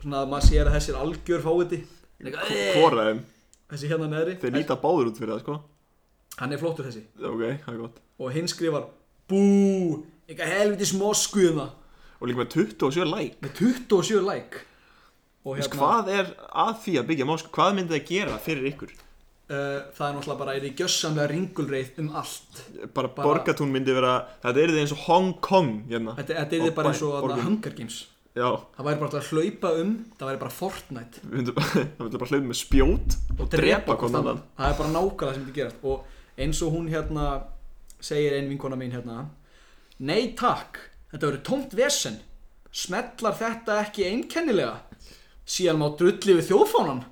S2: Svona að maður sér að þessi er algjör fáiði
S4: Hvoraðum,
S2: "Eh." Þessi hérna neðri
S4: þeir líta báður út fyrir það sko
S2: Hann er flottur þessi
S4: Ok, það er gott
S2: Og hinn skrifar Bú Eitthvað helvitis moskuðna
S4: Og líka með 27 like
S2: Með 27 like Og hérna-
S4: Þess, Hvað er að því að byggja mosku? Hvað myndi það gera fyrir ykkur?
S2: uh, það er náttúrulega bara er í gjössamlega ringulreið um allt
S4: Bara,
S2: Bara-
S4: borgatún myndi vera Þetta er eins og Hong Kong hérna.
S2: þetta, þetta er
S4: Og
S2: bara
S4: bæ-
S2: eins og þarna
S4: borgum.
S2: Hunger Games
S4: Já,
S2: það væri bara alltaf að hlaupa um það væri bara Fortnite
S4: við myndum það myndum bara hlaupið með spjót og drepa hvort annan
S2: það er bara nákvæmlega það sem þetta gerast og eins og hún hérna segir ein vinkona mín hérna nei takk, þetta verður tómt vesen smetlar þetta ekki einkennilega síðan má drulli við þjóðfánan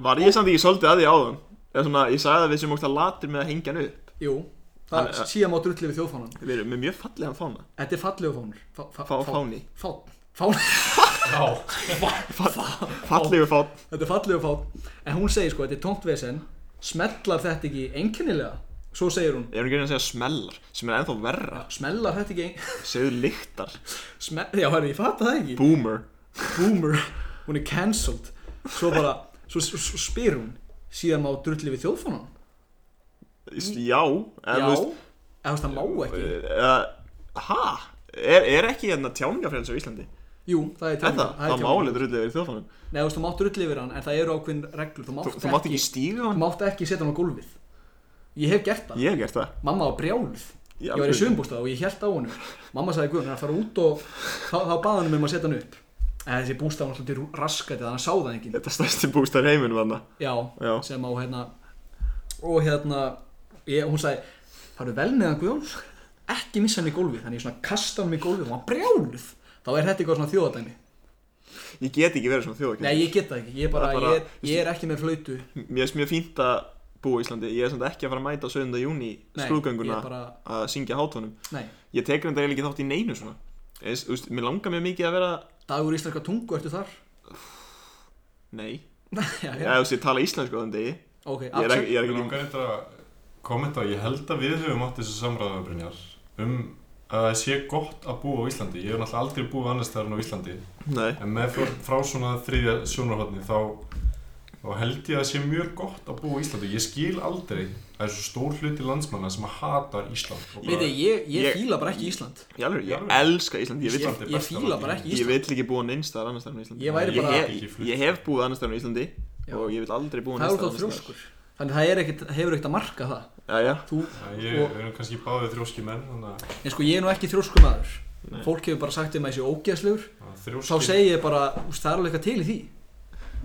S4: Var ég samt ekki svolítið að því áðan? Eða svona, ég sagði að við sem ógst að latir með að hengja hann upp
S2: jú, það,
S4: Hann- eh,
S2: síðan má drulli við þjóðfánan
S4: Við erum með mjög fallegan fána
S2: þetta er fallegu fánur fá, fá,
S4: Fá- fáni.
S2: fá, fá,
S4: Fallegu fán
S2: Þetta er fallegu fát En hún segir sko, þetta er tómt vesen Smellar þetta ekki einkennilega Svo segir hún "Ah,
S4: Ég er ekki að segja smellar Sem er ennþá verra
S2: Smellar þetta ekki ein...
S4: Segðu lyktar
S2: Smell... Já, herri, ég fatt það ekki
S4: Boomer
S2: Boomer Hún er cancelled Svo bara Svo, svo, svo spyr hún Síðan má drulli við þjóðfónan
S4: Já en
S2: Já
S4: þú
S2: Eða
S4: veist,
S2: þú veist, það má ekki
S4: eða, Ha? Er, er ekki hérna tjáningafræðins á Íslandi?
S2: Jú, það er
S4: Er það?
S2: er
S4: Það
S2: tjáning.
S4: málið drullið verið þjóðfánum
S2: Nei, þú veist, þú mátt drulli yfir hann En það eru ákveðin reglur Þú mátt,
S4: Þú, þú mátt ekki stíga
S2: Þú
S4: hann?
S2: mátt ekki setja hann á gólfið Ég hef gert það
S4: Ég hef gert það
S2: Mamma var brjáluð Ég
S4: Í
S2: var í
S4: alvöru?
S2: sögumbústað og ég held á honum Mamma sagði Guðun, hann er að fara út og þá, þá baði hann um að setja hann upp En þessi bústað var alltaf til raskæti þannig að hann sá það enginn
S4: Þetta stærsti bústar heiminum þarna
S2: Já,
S4: Já.
S2: sem á hérna Og hérna, ég, hún sagði Farðu vel með hann Guðun Ekki missa hann í gólfið, þannig ég svona kasta hann í gólfið og hann brjáluð Þá er þetta eitthvað svona þjóðadæmi
S4: Ég get ekki verið svona þjóðakinn
S2: Nei, ég get það ekki, ég, er bara,
S4: Það er bara-
S2: ég, er, ég er ekki með flautu
S4: Mér finnst mjög fínt að búa í Íslandi Ég er samt ekki að fara að mæta á 7. júni
S2: Nei,
S4: skrúðgönguna
S2: ég bara-
S4: að syngja hátónum
S2: Nei,
S4: Ég tekur þetta eiginlega ekki þátt í neinu svona Eins, þú veist, Mér langar mjög mikið að vera
S2: dagur íslenska tungu, ertu þar?
S4: Nei
S2: já,
S4: Eða þú veist, ég tala íslensku á þeim degi Ég
S2: Ok,
S4: er ekki,
S2: Axel,
S4: ég er
S3: Ég
S4: ekki
S3: langar eitthvað að kommenta Ég held að við höfum átt þessu samræðu Brynjar um að það sé gott að búa á Íslandi Ég hef náttúrulega aldrei búið annars staðar en á Íslandi
S4: Nei
S3: En með frá, frá svona þriðja sjónarhóttni þá, þá held ég að það sé mjög gott að búa á Íslandi Ég skil aldrei að það er svo stór hluti landsmanna sem að hatar Ísland og bara-
S2: Veit þið, ég, ég,
S4: Ég-
S2: fíla bara ekki Ísland
S4: Ég, alveg,
S3: Í
S4: ég
S3: alvöru?
S4: elska Ísland, ég
S2: Ég,
S4: vill,
S3: Ísland er
S2: ég
S3: besta
S2: fíla
S3: land í
S2: bara ekki
S4: ég
S2: Ísland
S4: vill ekki búa neins staðar annars staðar en á Íslandi
S2: Ég væri
S4: ég,
S2: bara-
S4: hef, ég hef búið annars staðar en á Íslandi
S2: Já.
S4: og ég vil aldrei búa
S2: Það
S4: neins
S2: er út á
S4: staðar annars
S2: þrjóskur Þannig það er ekkit, hefur ekkert að marka það
S4: staðar Já, já,
S2: Þú,
S3: Já, Ég
S2: og,
S3: við erum kannski báðið þrjóski menn þannig
S2: En sko ég er nú ekki þrjóskur maður Fólk hefur bara sagt um að ég sé ógeðslegur
S3: að
S2: Sá
S3: þrjóski
S2: segi ég bara, úst, það er alveg eitthvað til í því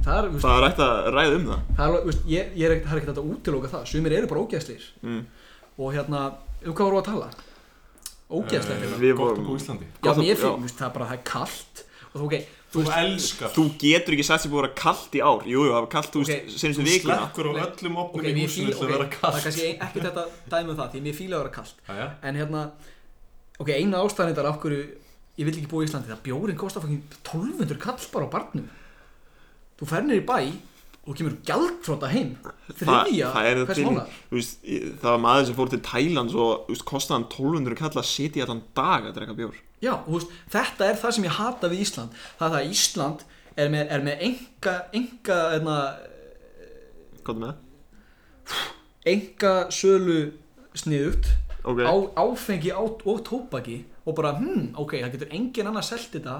S2: Það er, úst,
S4: það er rætt að ræða um það
S2: það er alveg, úst, ég, ég er ekkert, það er ekkert hægt að útiloka það Sumir eru bara ógeðslegir
S4: Mm.
S2: Og hérna, um hvað vorum við að tala? Ógeðslegir
S3: Eh,
S4: Við
S3: Gott að
S4: vorum-
S3: búa á Íslandi
S2: Já,
S4: gott að-
S2: mér
S4: já.
S2: fyrir, úst, það er bara, það er kalt Og þú, ok, þú,
S3: Þú elskar
S4: Þú getur ekki sagt sem búið að vera kallt í ár Jú, jú, það var kallt, þú
S2: Ok,
S4: veist, senstu
S3: Þú
S4: vikuna
S3: slekkur á öllum opnum
S2: ok,
S3: í
S2: mér
S3: húsinu
S2: fíla, ok,
S3: þegar það er
S2: það er
S3: kallt
S2: kannski ekki þetta dæmi um það Því mér fíla að vera kalt
S3: Jæja.
S2: En hérna, ok, eina ástæðanindar af hverju ég vil ekki búa í Íslandi það bjórin kostar fokkin 1200 kall bara á barnum. Þú fer niður í bæ og þú kemur gjaldfróta heim.
S4: Það,
S2: Þriðja,
S4: það er
S2: hvers
S4: til,
S2: mánar?
S4: þú veist, ég- það var maður sem fór til Tælands og, þú veist, kostaði hann 1200 kall að sitja í allan dag að drekka bjór
S2: Já, og þú veist, þetta er það sem ég hata við Ísland. Það er það að Ísland er með, er með hérna, enga, enga, enna,
S4: Hvað með það?
S2: enga sölu sniðugt
S4: Ok,
S2: á, áfengi á, og tóbaki og bara, hmm, ok, það getur engin annar selt þetta.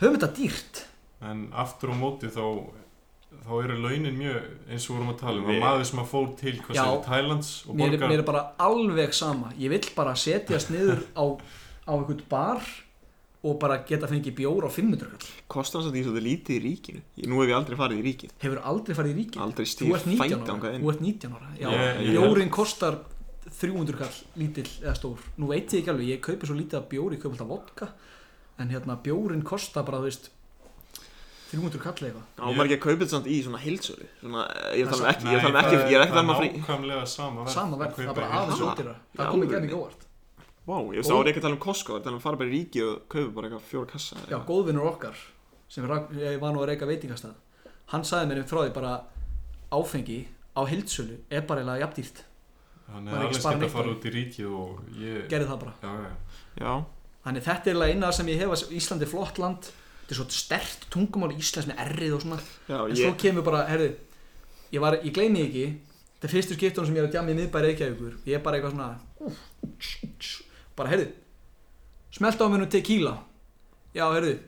S2: Höfum þetta dýrt.
S3: En aftur á móti þá þá eru launin mjög eins og vorum að tala um
S4: Við-
S3: að maður sem að fór til hvað
S2: Já.
S3: sem er Thailands
S2: mér,
S3: og
S2: er-
S3: borgar
S2: mér er bara alveg sama ég vill bara setjast niður á, á einhvern bar og bara geta fengið bjór á 500 kall
S4: kostaði hann satt í svo lítið í ríkinu Ég- Nú hef ég aldrei farið í ríkið
S2: hefur aldrei farið í ríkið
S4: Aldrei
S2: þú
S4: stíð
S2: ert 19 ára,
S4: fætanga inn
S2: þú ert 19 ára. Já,
S3: Ég- ég-
S2: bjórin kostar 300 kall lítill eða stór nú veit ég ekki alveg, ég kaupi svo lítið af bjóri ég kaupi alltaf vodka en hérna bjórin kostar bara þú veist 300 kall eða eitthvað
S4: Á maður ekki að kaupa þetta samt í svona heilsölu Svona, eh, ég þarf ekki, ég
S3: Nei,
S4: þarf ekki,
S3: það
S4: ég er ekki þarna að
S3: Það
S4: frí
S3: er nákvæmlega sama verð
S2: sama verð,
S3: að kaupa
S2: það er bara
S3: í
S2: aðeins
S3: heildsölu.
S4: heildsölu.
S2: ódýra
S4: Já,
S2: það kom ekki
S4: alveg.
S2: ennig óvart
S4: Vá, ég veist, þá er ég ekki að tala um Costco, ég er að tala um fara bara í ríki og kaupa bara eitthvað fjóra kassa
S2: já, góðvinnur okkar sem rak, ég var nú að reyka veitingastað hann sagði mér um frá því bara áfengi á heildsölu er bara eiginlega jafndýrt
S3: Þannig
S2: Maður
S3: að
S2: er ekki
S3: alveg
S2: spara
S3: skemmt
S2: neitt
S3: að
S2: á
S3: fara
S2: því.
S3: út í ríkið og ég
S2: gerði það bara
S3: Já, já,
S4: Já,
S2: þannig þetta er eiginlega eina sem ég hef að Íslandi er flott land þetta er svo stert tungumál í Íslands með errið og svona
S4: já,
S2: en svo
S4: ég,
S2: kemur bara, herðu ég, var, ég gleymi því ekki þetta er fyrstu skiptunum sem ég er að djama í miðbæri Reykjavíkur ég er bara eitthvað svona tss, tss, bara, herðu smelt á mér nú tequila já, herðu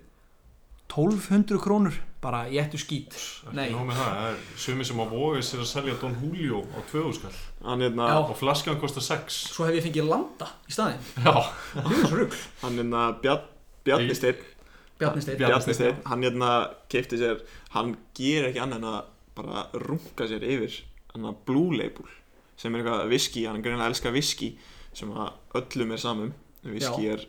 S2: 1200 krónur bara ég ættu skít
S3: Nei.
S2: nei,
S3: Nó með það, það er sumi sem á vóið sér að selja Don Julio á 2000 skall
S4: hann hérna,
S2: Já.
S3: og flaskan kostar 6
S2: svo hef ég fengið landa í staðin
S3: Já,
S4: hann hérna, Bjarn, Bjarni
S3: Ég-
S4: Steinn,
S2: Bjarni Steinn
S3: Bjarni
S4: Bjarni
S3: Steinn,
S4: Steinn, hann hérna keipti sér, hann ger ekki annað en að bara runga sér yfir, hann að Blue Label, sem er eitthvað viski, hann er greinlega að elska viski, sem að öllum er samum, viski
S2: Já.
S4: er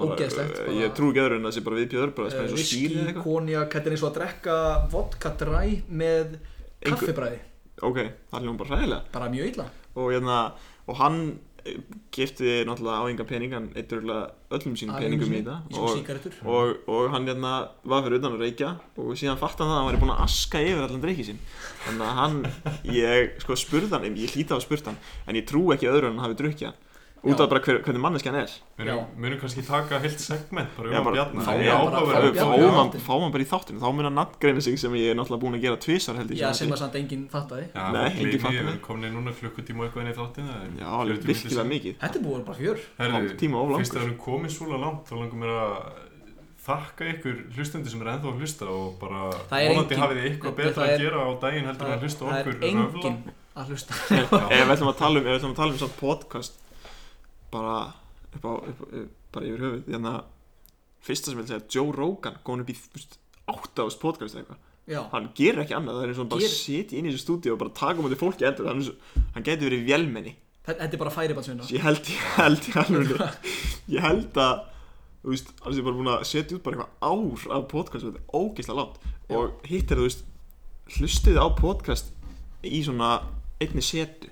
S4: bara, eh,
S2: Ógeðslegt, bara-
S4: ég trú ekki öðru en að það sé bara viðbjöður, bara sem
S2: Eh,
S4: eins og
S2: viskí,
S4: skýri eitthvað,
S2: konjak, þetta er eins og að drekka vodka dræ með
S4: Engu-
S2: kaffibræði
S4: ok, það er ljón bara hræðilega.
S2: bara mjög illa
S4: og, hérna, og hann gifti náttúrulega á enga pening hann eittur öllum sínum peningum í þetta
S2: og,
S4: og, og, og hann hérna var fyrir utan að reykja og síðan fatt hann það að hann væri búinn að aska yfir allan reykið sín þannig að hann, ég sko spurði hann ég hlýta á að spurði hann, en ég trú ekki öðru en hann hafi drukkið hann út
S2: Já.
S4: af bara hver, hvernig manneski hann er
S3: Við
S2: Já.
S3: munum kannski taka heilt segment bara um
S4: Já,
S3: að
S4: bara-
S3: bjarna
S4: Fá
S3: Það er
S2: hann bara-
S3: áhugaverð-
S2: fá
S4: Ef við
S2: Bjarna á
S3: fá-
S4: fáum hann,
S2: þáttinn.
S4: fáum hann bara í þáttinu þá mun hann nattgreina sig sem ég er náttúrulega búinn að gera tvisar held ég
S2: Já,
S4: sem
S2: sem
S4: hann
S2: að samt enginn fattaði
S3: Já, við
S4: Nei, enginn
S3: gleymum
S4: fattar
S3: því,
S4: það.
S3: við komum núna klukkutíma og eitthvað inn í þáttin
S4: til. já, alveg virkilega mikið
S2: Þetta er búið að vera bara fjör
S4: Hálf tíma of langur.
S3: Fyrst að við erum komið svola langt þá langar mér að þakka ykkur hlustandi sem er ennþá að hlusta og bara
S2: Það er
S3: vonandi
S2: engin-
S3: hafið þið eitthvað
S2: það-
S3: betra
S2: það
S3: að
S2: er-
S3: gera á daginn heldur en að hlusta á
S2: Það
S3: okkur
S2: er enginn að hlusta
S3: röfla.
S4: ef við ætlum að tala um, ef við ætlum að tala um svona podcast bara upp á, upp, upp, bara yfir höfuð þannig að hérna, fyrsta sem ég vil segja Joe Rogan góðan upp í þú veist, 8000 podcast eða eitthvað
S2: Já,
S4: hann gerir ekki annað, það er eins og hann bara
S2: Gerir-
S4: sitja inn í þessu stúdíu og bara taka um þetta fólki endur hann, er svo- hann getur verið vélmenni
S2: þetta- þetta er bara færibandsvinna
S4: ég held, ég held, ég held ég held að þú veist, hann sé bara búin að setja út bara eitthvað ár af podcast þetta er ógeðslega langt og hitt er þú veist, hlustið á podcast í svona einni setu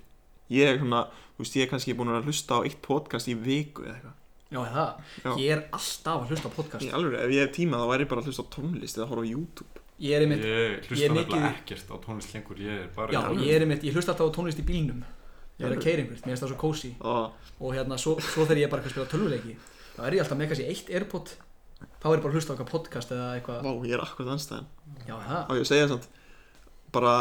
S4: ég er svona, þú veist, ég er kannski búin að hlusta á eitt podcast í viku eða eitthvað
S2: Já, er það,
S4: Já.
S2: ég er alltaf að hlusta á podcast
S4: í alveg, ef ég hef tíma þá væri ég bara að hlusta á tónlist eða að horfa á YouTube
S2: Ég er einmitt,
S3: Ég
S2: ég er
S3: hlusta nefnilega
S2: mikið-
S3: ekkert á tónlist lengur, ég er bara
S2: já, ég er einmitt Ég hlusta alltaf á tónlist í bílnum Ég er
S4: Já.
S2: að keira einhvert, mér finnst það svo kósi
S4: og
S2: Og hérna, svo, svo þegar ég er bara eitthvað að spila tölvuleiki Þá er ég alltaf með kannski eitt Airpod Þá er ég bara að hlusta á eitthvað podcast eða eitthvað
S4: vá, ég er akkurat anstæðan
S2: Já, er það,
S4: og ég að segja samt bara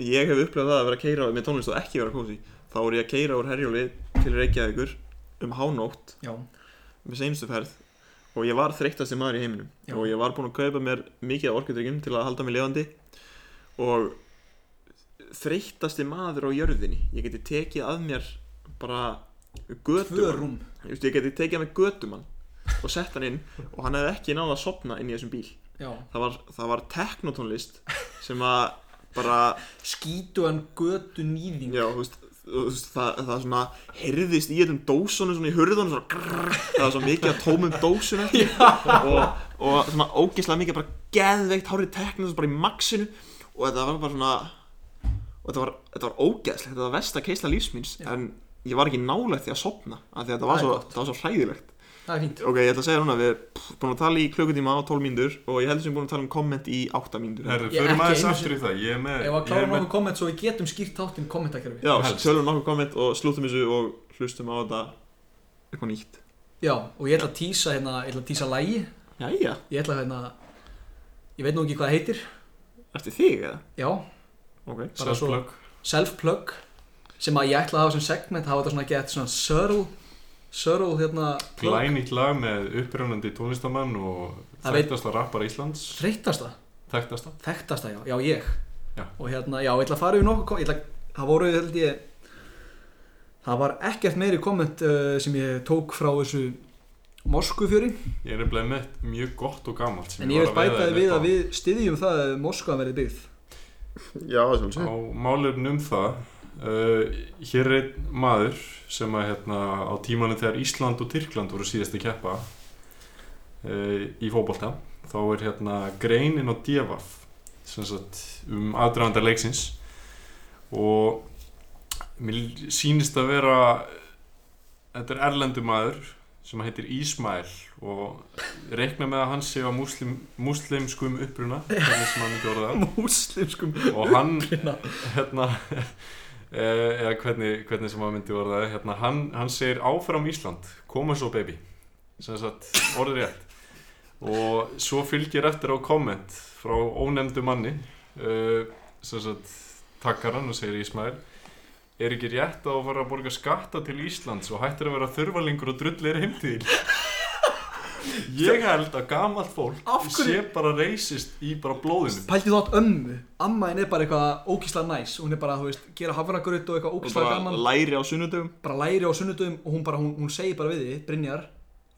S4: ég hef upplefað það að vera að keira með tónlist og ekki vera kósi þá er ég að keira úr herjóli til Reykjavíkur um hánótt
S2: já,
S4: með seinustu ferð og ég var þreyttasti maður í heiminum
S2: Já.
S4: og ég var búinn að kaupa mér mikið af orkudryggjum til að halda mig levandi og þreyttasti maður á jörðinni ég geti tekið að mér bara
S2: tvö
S4: götumann
S2: rúm
S4: Ég veist, ég geti tekið að mér götumann og sett hann inn og hann hefði ekki náða að sopna inn í þessum bíl
S2: Já,
S4: það var, það var teknotónlist sem að bara,
S2: skítuan götu nýðing
S4: já, þú veist, þú veist það, það svona heyrðist í þessum dósunum svona í hurðunum svona grrr, það var svo mikið að tómum dósun eftir og, og svona ógeðslega mikið bara geðveikt hárið tekno bara í maxinu og þetta var bara svona og þetta var, þetta var ógeðslegt, þetta var vest að keisla lífsmins
S2: Já.
S4: en ég var ekki nálægt því að sopna af því að þetta
S2: Það
S4: var
S2: er
S4: svo,
S2: gott.
S4: það var svo hræðilegt
S2: Það er fínt
S4: ok, ég ætla að segja núna, við erum búin að tala í klukkutíma á 12 mínútur og ég heldur sem við erum búin að tala um komment í 8 mínútur
S2: Ég
S3: Herðu,
S2: er
S3: förum
S2: ekki
S3: aðeins
S2: einu
S3: aftur í það, ég er með
S2: Ef að
S3: ég
S2: klára
S3: er með-
S2: nokkuð komment svo við getum skýrt þáttinn kommentakerfi
S4: Já,
S3: Helst.
S4: tölum nokkuð komment og slúttum þessu og hlustum á þetta eitthvað nýtt
S2: Já, og ég ætla að tísa hérna, ég ætla að tísa lægi
S4: Jæja,
S2: Ég ætla að hérna, ég veit nú ekki hvað það heitir
S4: ertu þig eða?
S2: Já,
S4: Ok
S2: bara svo
S3: Self-plug.
S2: self-plug Sem að ég ætla að hafa sem segment, hafa þetta svona gett svona sörl Sörl hérna plug.
S3: glænýtt lag með upprennandi tónlistamann og
S2: Það veit-
S3: þekktasta rappar Íslands
S2: Þreyttasta,
S3: þekktasta
S2: þekktasta já, já ég
S3: Já.
S2: Og hérna, já, ég ætla að fara yfir nokkuð kom- ég ætla, að- Það voru, held ég Það var ekkert meiri komment uh, sem ég tók frá þessu Moskufjöri
S3: ég er nefnilega með mjög gott og gamalt sem
S2: En ég vil
S3: var
S2: bæta
S3: að
S2: þið við
S3: veiða hérna upp
S2: að við styðjum það að Moskva verði byggð
S4: Já, sem
S3: á málefn um það uh, hér er einn maður sem að hérna á tímanum þegar Ísland og Tyrkland voru síðast að keppa uh, í fótbolta þá er hérna grein inn á Devaf sem sagt um aðdragandar leiksins og mér sýnist að vera þetta er erlendu maður sem heitir Ísmael og reikna með að hann sé á muslim, muslimskum uppruna hvernig sem hann ekki orða
S2: Múslimskum
S3: og hann hérna eh, eða hvernig, hvernig sem maður myndi orða það, hérna, hann, hann segir áfram Ísland koma svo baby sem sagt orðið rétt og svo fylgir eftir á komment frá ónefndu manni eh, sem sagt takkar hann og segir Ísmael er ekki rétt að fara að borga skatta til Íslands og hættir að vera þurfalingur og drullir heimtíðil ég held að gamalt
S2: Af
S3: fólk sé
S2: hverju-
S3: bara reisist í bara blóðinu
S2: Pælti þátt ömmu Amma henni er bara eitthvað ógísla næs Hún er bara, þú veist, gera hafragraut og eitthvað
S4: Og
S2: ógísla
S4: bara
S2: gaman
S4: læri á sunnudögum
S2: Bara læri á sunnudum og hún bara, hún, hún segir bara við þið Brynjar,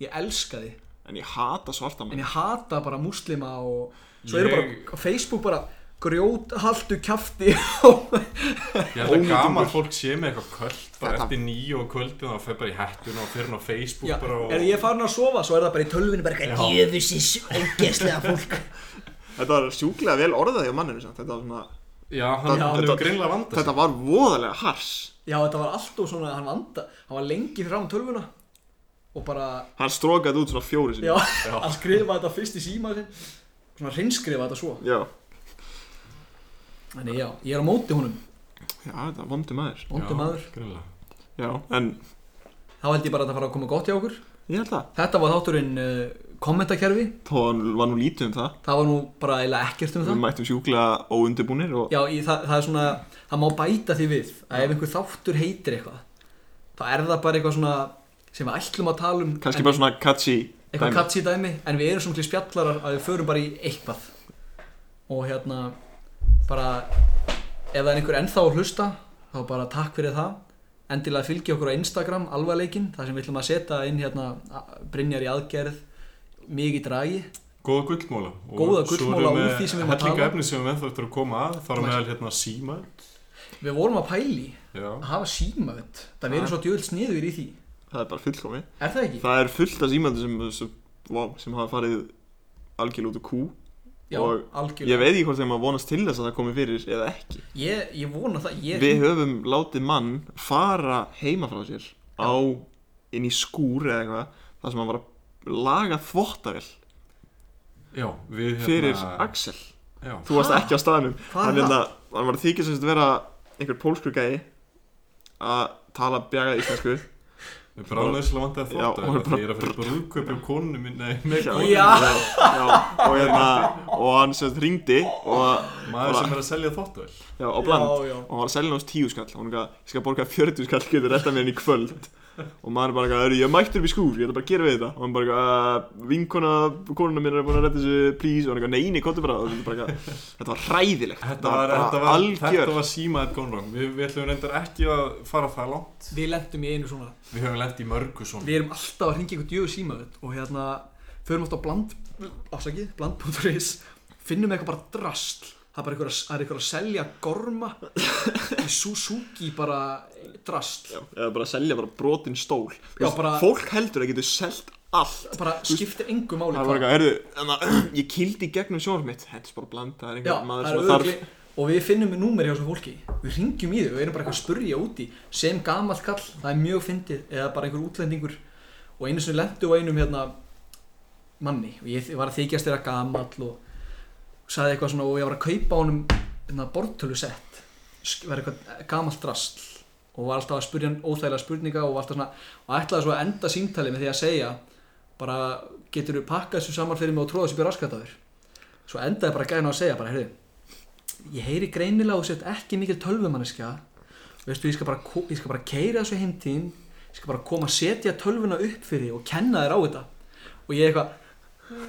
S2: ég elska þið
S4: En ég hata svarta
S2: En
S4: menn
S2: ég hata bara múslima og Svo eru
S3: Ég-
S2: bara á Facebook bara Grjót, haltu, kjafti og
S3: Ég held að
S4: Ónýtingur.
S3: gaman fólk sé með eitthvað kvöld bara
S4: Þetta-
S3: eftir nýju og kvöldin og fer bara í hettuna og fer hann á Facebook
S2: Já,
S3: bara og
S2: er ég farin að sofa, svo er það bara í tölvinu bara eitthvað
S6: Jöfusins ógeðslega fólk
S4: Þetta var sjúklega vel orðað hjá manninu samt Þetta var svona
S3: Já, hann
S4: Já,
S3: hann
S4: þetta-
S3: hefur greinlega vandað
S4: Þetta var voðalega hars
S2: Já, þetta var alltaf svona, hann vanda, hann var lengi fram tölvuna og bara,
S4: Hann strókaði út svona fjóri sinni
S2: já, að skrifa þetta fyrst í síma sinn, svona hrinskrifa þetta svo.
S4: Já,
S2: Þannig já, ég er á móti honum,
S4: Já, þetta var vondi maður
S2: móti maður.
S3: Greinlega
S4: Já, en
S2: Þá held ég bara að þetta fara að koma gott hjá okkur.
S4: ég held að
S2: Þetta var þátturinn uh, kommentakerfi,
S4: Þó hann var nú lítið um það
S2: það var nú bara eiginlega ekkert um
S4: Við
S2: það.
S4: mættum sjúklega óundibúnir og
S2: Já, ég, það, það er svona, það má bæta því við að ef einhver þáttur heitir eitthvað, þá er það bara eitthvað svona sem við ætlum að tala um.
S4: kannski
S2: en-
S4: bara svona catchy
S2: eitthvað
S4: dæmi.
S2: katsi dæmi en við erum svona miklir spjallarar að við förum bara í eitthvað og hérna bara ef það er einhver ennþá að hlusta þá bara takk fyrir það endilega fylgi okkur á Instagram alvarleikin þar sem við ætlum að setja inn hérna a- Brynjar í aðgerð mikið dragi
S3: Góða gullmóla Og
S2: Góða
S3: svo erum
S2: gullmóla úr
S3: við
S2: því sem við erum að
S3: hellinga
S2: tala. um.
S3: efni sem við ennþá eftir að koma að þar á meðal hérna síma
S2: við vorum að pæli
S3: Já,
S2: að hafa símaönd það verður svo djöld sniður í því
S4: Það er bara fullkomi
S2: er það ekki?
S4: Það er fullt af símandi sem, sem, wow, sem hafa farið algjörlega út úr kú
S2: Já,
S4: og Ég
S2: algjörlega
S4: veit ekki hvort þegar maður vonast til þess að það komi fyrir eða ekki
S2: ég, ég vona það ég,
S4: Við höfum látið mann fara heima frá sér á inn í skúr eða eitthvað þar sem hann var að laga þvottavel
S3: já, við hérna
S4: fyrir Axel
S3: Já,
S4: Þú varst ekki á staðnum
S2: Hvað er
S4: Hann, hérna, hann var að þykja sem þetta vera einhver pólskur gæi að tala bjagað íslensku
S3: við bráðum þessilega vandað
S4: Já,
S3: þótt
S4: og bara-
S3: Ég er að fyrir brúðkaupi á konunum minn Nei, með
S4: Já.
S3: konunum
S2: já,
S4: Já, og, hérna, og hann sem þetta ringdi og,
S3: Maður sem er að selja þótt
S4: já, á
S2: já,
S4: bland
S2: já.
S4: og hann var að selja náttúrulega tíu skall og hann gaf, ég skal borga 40 skall getur rétta mér hann í kvöld og maður bara eitthvað, "Heyrðu, ég er mættur upp í skúr, ég ætla bara að gera við þetta og hann bara eitthvað, "Uh, vinkona, konuna mín er búin að rétta þessu, please og hann eitthvað, nei, nei, komdu bara og þetta, bara, eitthvað, þetta var hræðilegt
S3: Þetta var, þetta var, þetta
S4: algjör
S3: var síma að gone wrong Við, við ætlum reyndar ekki að fara það langt
S2: við lentum í einu svona
S3: Við höfum lent í mörgu svona
S2: Við erum alltaf að ringja ykkur djöðu símaðut og hérna förum alltaf á bland afsakið, bland.is finnum eitthvað bara drasl það er bara ykkur að, það er ykkur að selja gorma í Suzuki bara drasl
S4: eða bara að selja bara brotin stól
S2: Já, bara-
S4: fólk heldur að getur selt allt
S2: bara skiptir engu máli
S4: það var eitthvað, erðu, ég kildi í gegnum sjónum mitt þetta er bara blanda, það er
S2: Já,
S4: einhver maður
S2: það er
S4: sem þarf
S2: öruggli- og við finnum númer hjá þessu fólki við ringjum í þau og erum bara eitthvað að spurja úti sem gamall kall, það er mjög fyndið eða bara einhver útlendingur og einu sinni lendu á einum hérna manni og ég var að þykjast þeirra gamall og sagði eitthvað svona og ég var að kaupa honum hérna, bortölusett var eitthvað gamall drasl og var alltaf að spurja hann óþægilega spurninga og var alltaf svona og ætlaði svo að enda símtalið með því að segja bara getur þú pakkað þessu saman fyrir mig og tróða þessu byrja raskat á þér svo endaði bara gæðin á að segja bara, heyrðu, ég heyri greinilega og sett ekki mikil tölvumanneskja veistu, ég skal bara, ko- ég skal bara keira þessu heimtíðin ég skal bara koma að setja tölvuna upp fyrir þig og kenna þér á þetta og ég eitthvað eh,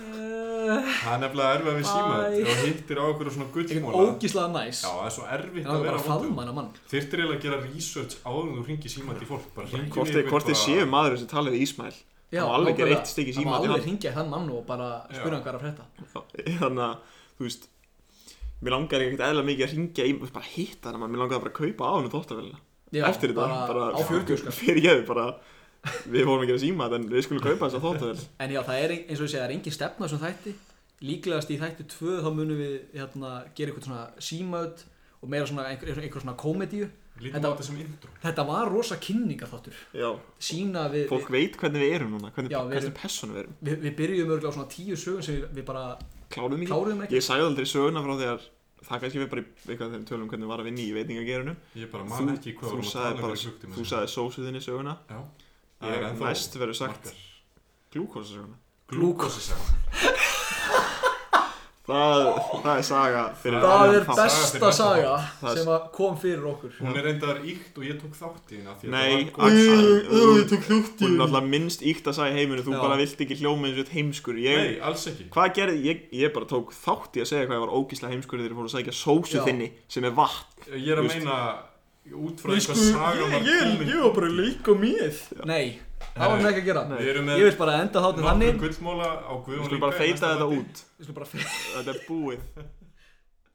S3: Það er nefnilega erfið við síma
S2: Æ.
S3: þetta og hittir á okkur svona
S2: eitthvað
S3: gullmóla
S2: ógíslega næs
S3: Já, það er svo erfitt
S2: en það
S3: að
S2: er bara
S3: vera
S2: að faðma
S3: vondur.
S2: hana mann
S3: Þyrftir eiginlega að gera research áður en þú ringir síma til fólk bara hringir
S4: hvort þið- hvort þið séu maður sem talaði við Ísmæl
S2: Já,
S4: það var alveg
S2: nákvæmlega.
S4: gera eitt stygg í
S2: það
S4: síma
S2: var alveg hringja í þann mann og bara
S3: Já.
S2: spura hann hvað er að frétta
S4: þannig að, Hérna, þú veist mér langar ekkert eðla mikið að ringja í bara að hitta hana, mann, mér langar bara að kaupa á hennu þóttavélina
S2: Já,
S4: eftir þetta,
S2: bara
S4: bara,
S2: á 40 skall.
S4: fyrir ég bara, við vorum að gera síma en við skulum kaupa þessa þóttavél
S2: en já, það er ein- eins og ég segi, það er engin stefna sem þætti líklegast í þætti 2 þá munum við hérna, gera eitthvað svona símaut og meira svona einhver, einhver svona komedíu
S3: Lítum
S2: Þetta-
S3: á þetta sem intro
S2: þetta var rosa kynningaþáttur
S4: Já,
S2: sína við,
S4: fólk veit hvernig við erum núna Hvernig,
S2: Já, við
S4: hvernig
S2: erum-
S4: personu við erum
S2: við, við byrjum örgulega á svona tíu sögum sem við, við bara
S4: Kláruðum ekki
S2: kláruðum ekki
S4: Ég sagði aldrei söguna frá þegar Það kannski við bara í eitthvað þeim tölum um hvernig var að vinna í veitingagerinu
S3: Ég bara man ekki hvað
S4: þú
S3: vorum að tala
S4: sagði
S3: um
S4: bara,
S3: fyrir klukkutíma
S4: þú
S3: síðan.
S4: sagði sósuðinni söguna
S3: Já, ég er
S4: Ég
S3: ennþá
S4: næst verður sagt
S3: margar.
S4: glúkosa söguna
S3: Glúkosa saga
S4: það, það er saga fyrir
S2: það
S4: annan
S2: er
S4: þátt.
S2: besta saga
S4: Það er-
S2: sem að kom fyrir okkur
S3: Hún er reyndar íkt og ég tók þátt í henni af því að
S4: Nei,
S3: það var
S4: Axel,
S3: góð-
S4: þú- Hún er alltaf minnst íkt að sagja heiminu Þú
S2: Já.
S4: bara vilt ekki hljóma eins og eitt heimskur
S3: Nei,
S4: ég,
S3: alls ekki
S4: Hvað gerði, ég, ég bara tók þátt í að segja hvað ég var ógíslega heimskur Þegar ég fór að sækja sósu
S2: Já.
S4: þinni sem er vatn
S3: Ég er að
S4: Þú veist-
S3: meina út frá eitthvað saga var komin
S4: var bara leik og mið
S2: nei, það var
S3: Herru,
S2: með ekki að gera
S3: Við erum
S2: ég
S3: með
S2: vil bara enda þáttin
S3: nokkur
S2: þannig
S3: gullmóla á
S4: Við
S3: Guðjón
S4: skulum bara
S3: Ríka í
S4: feita
S3: næsta
S4: þetta
S3: þætti.
S4: út
S2: Ég skal bara fyrir
S4: Þetta er búið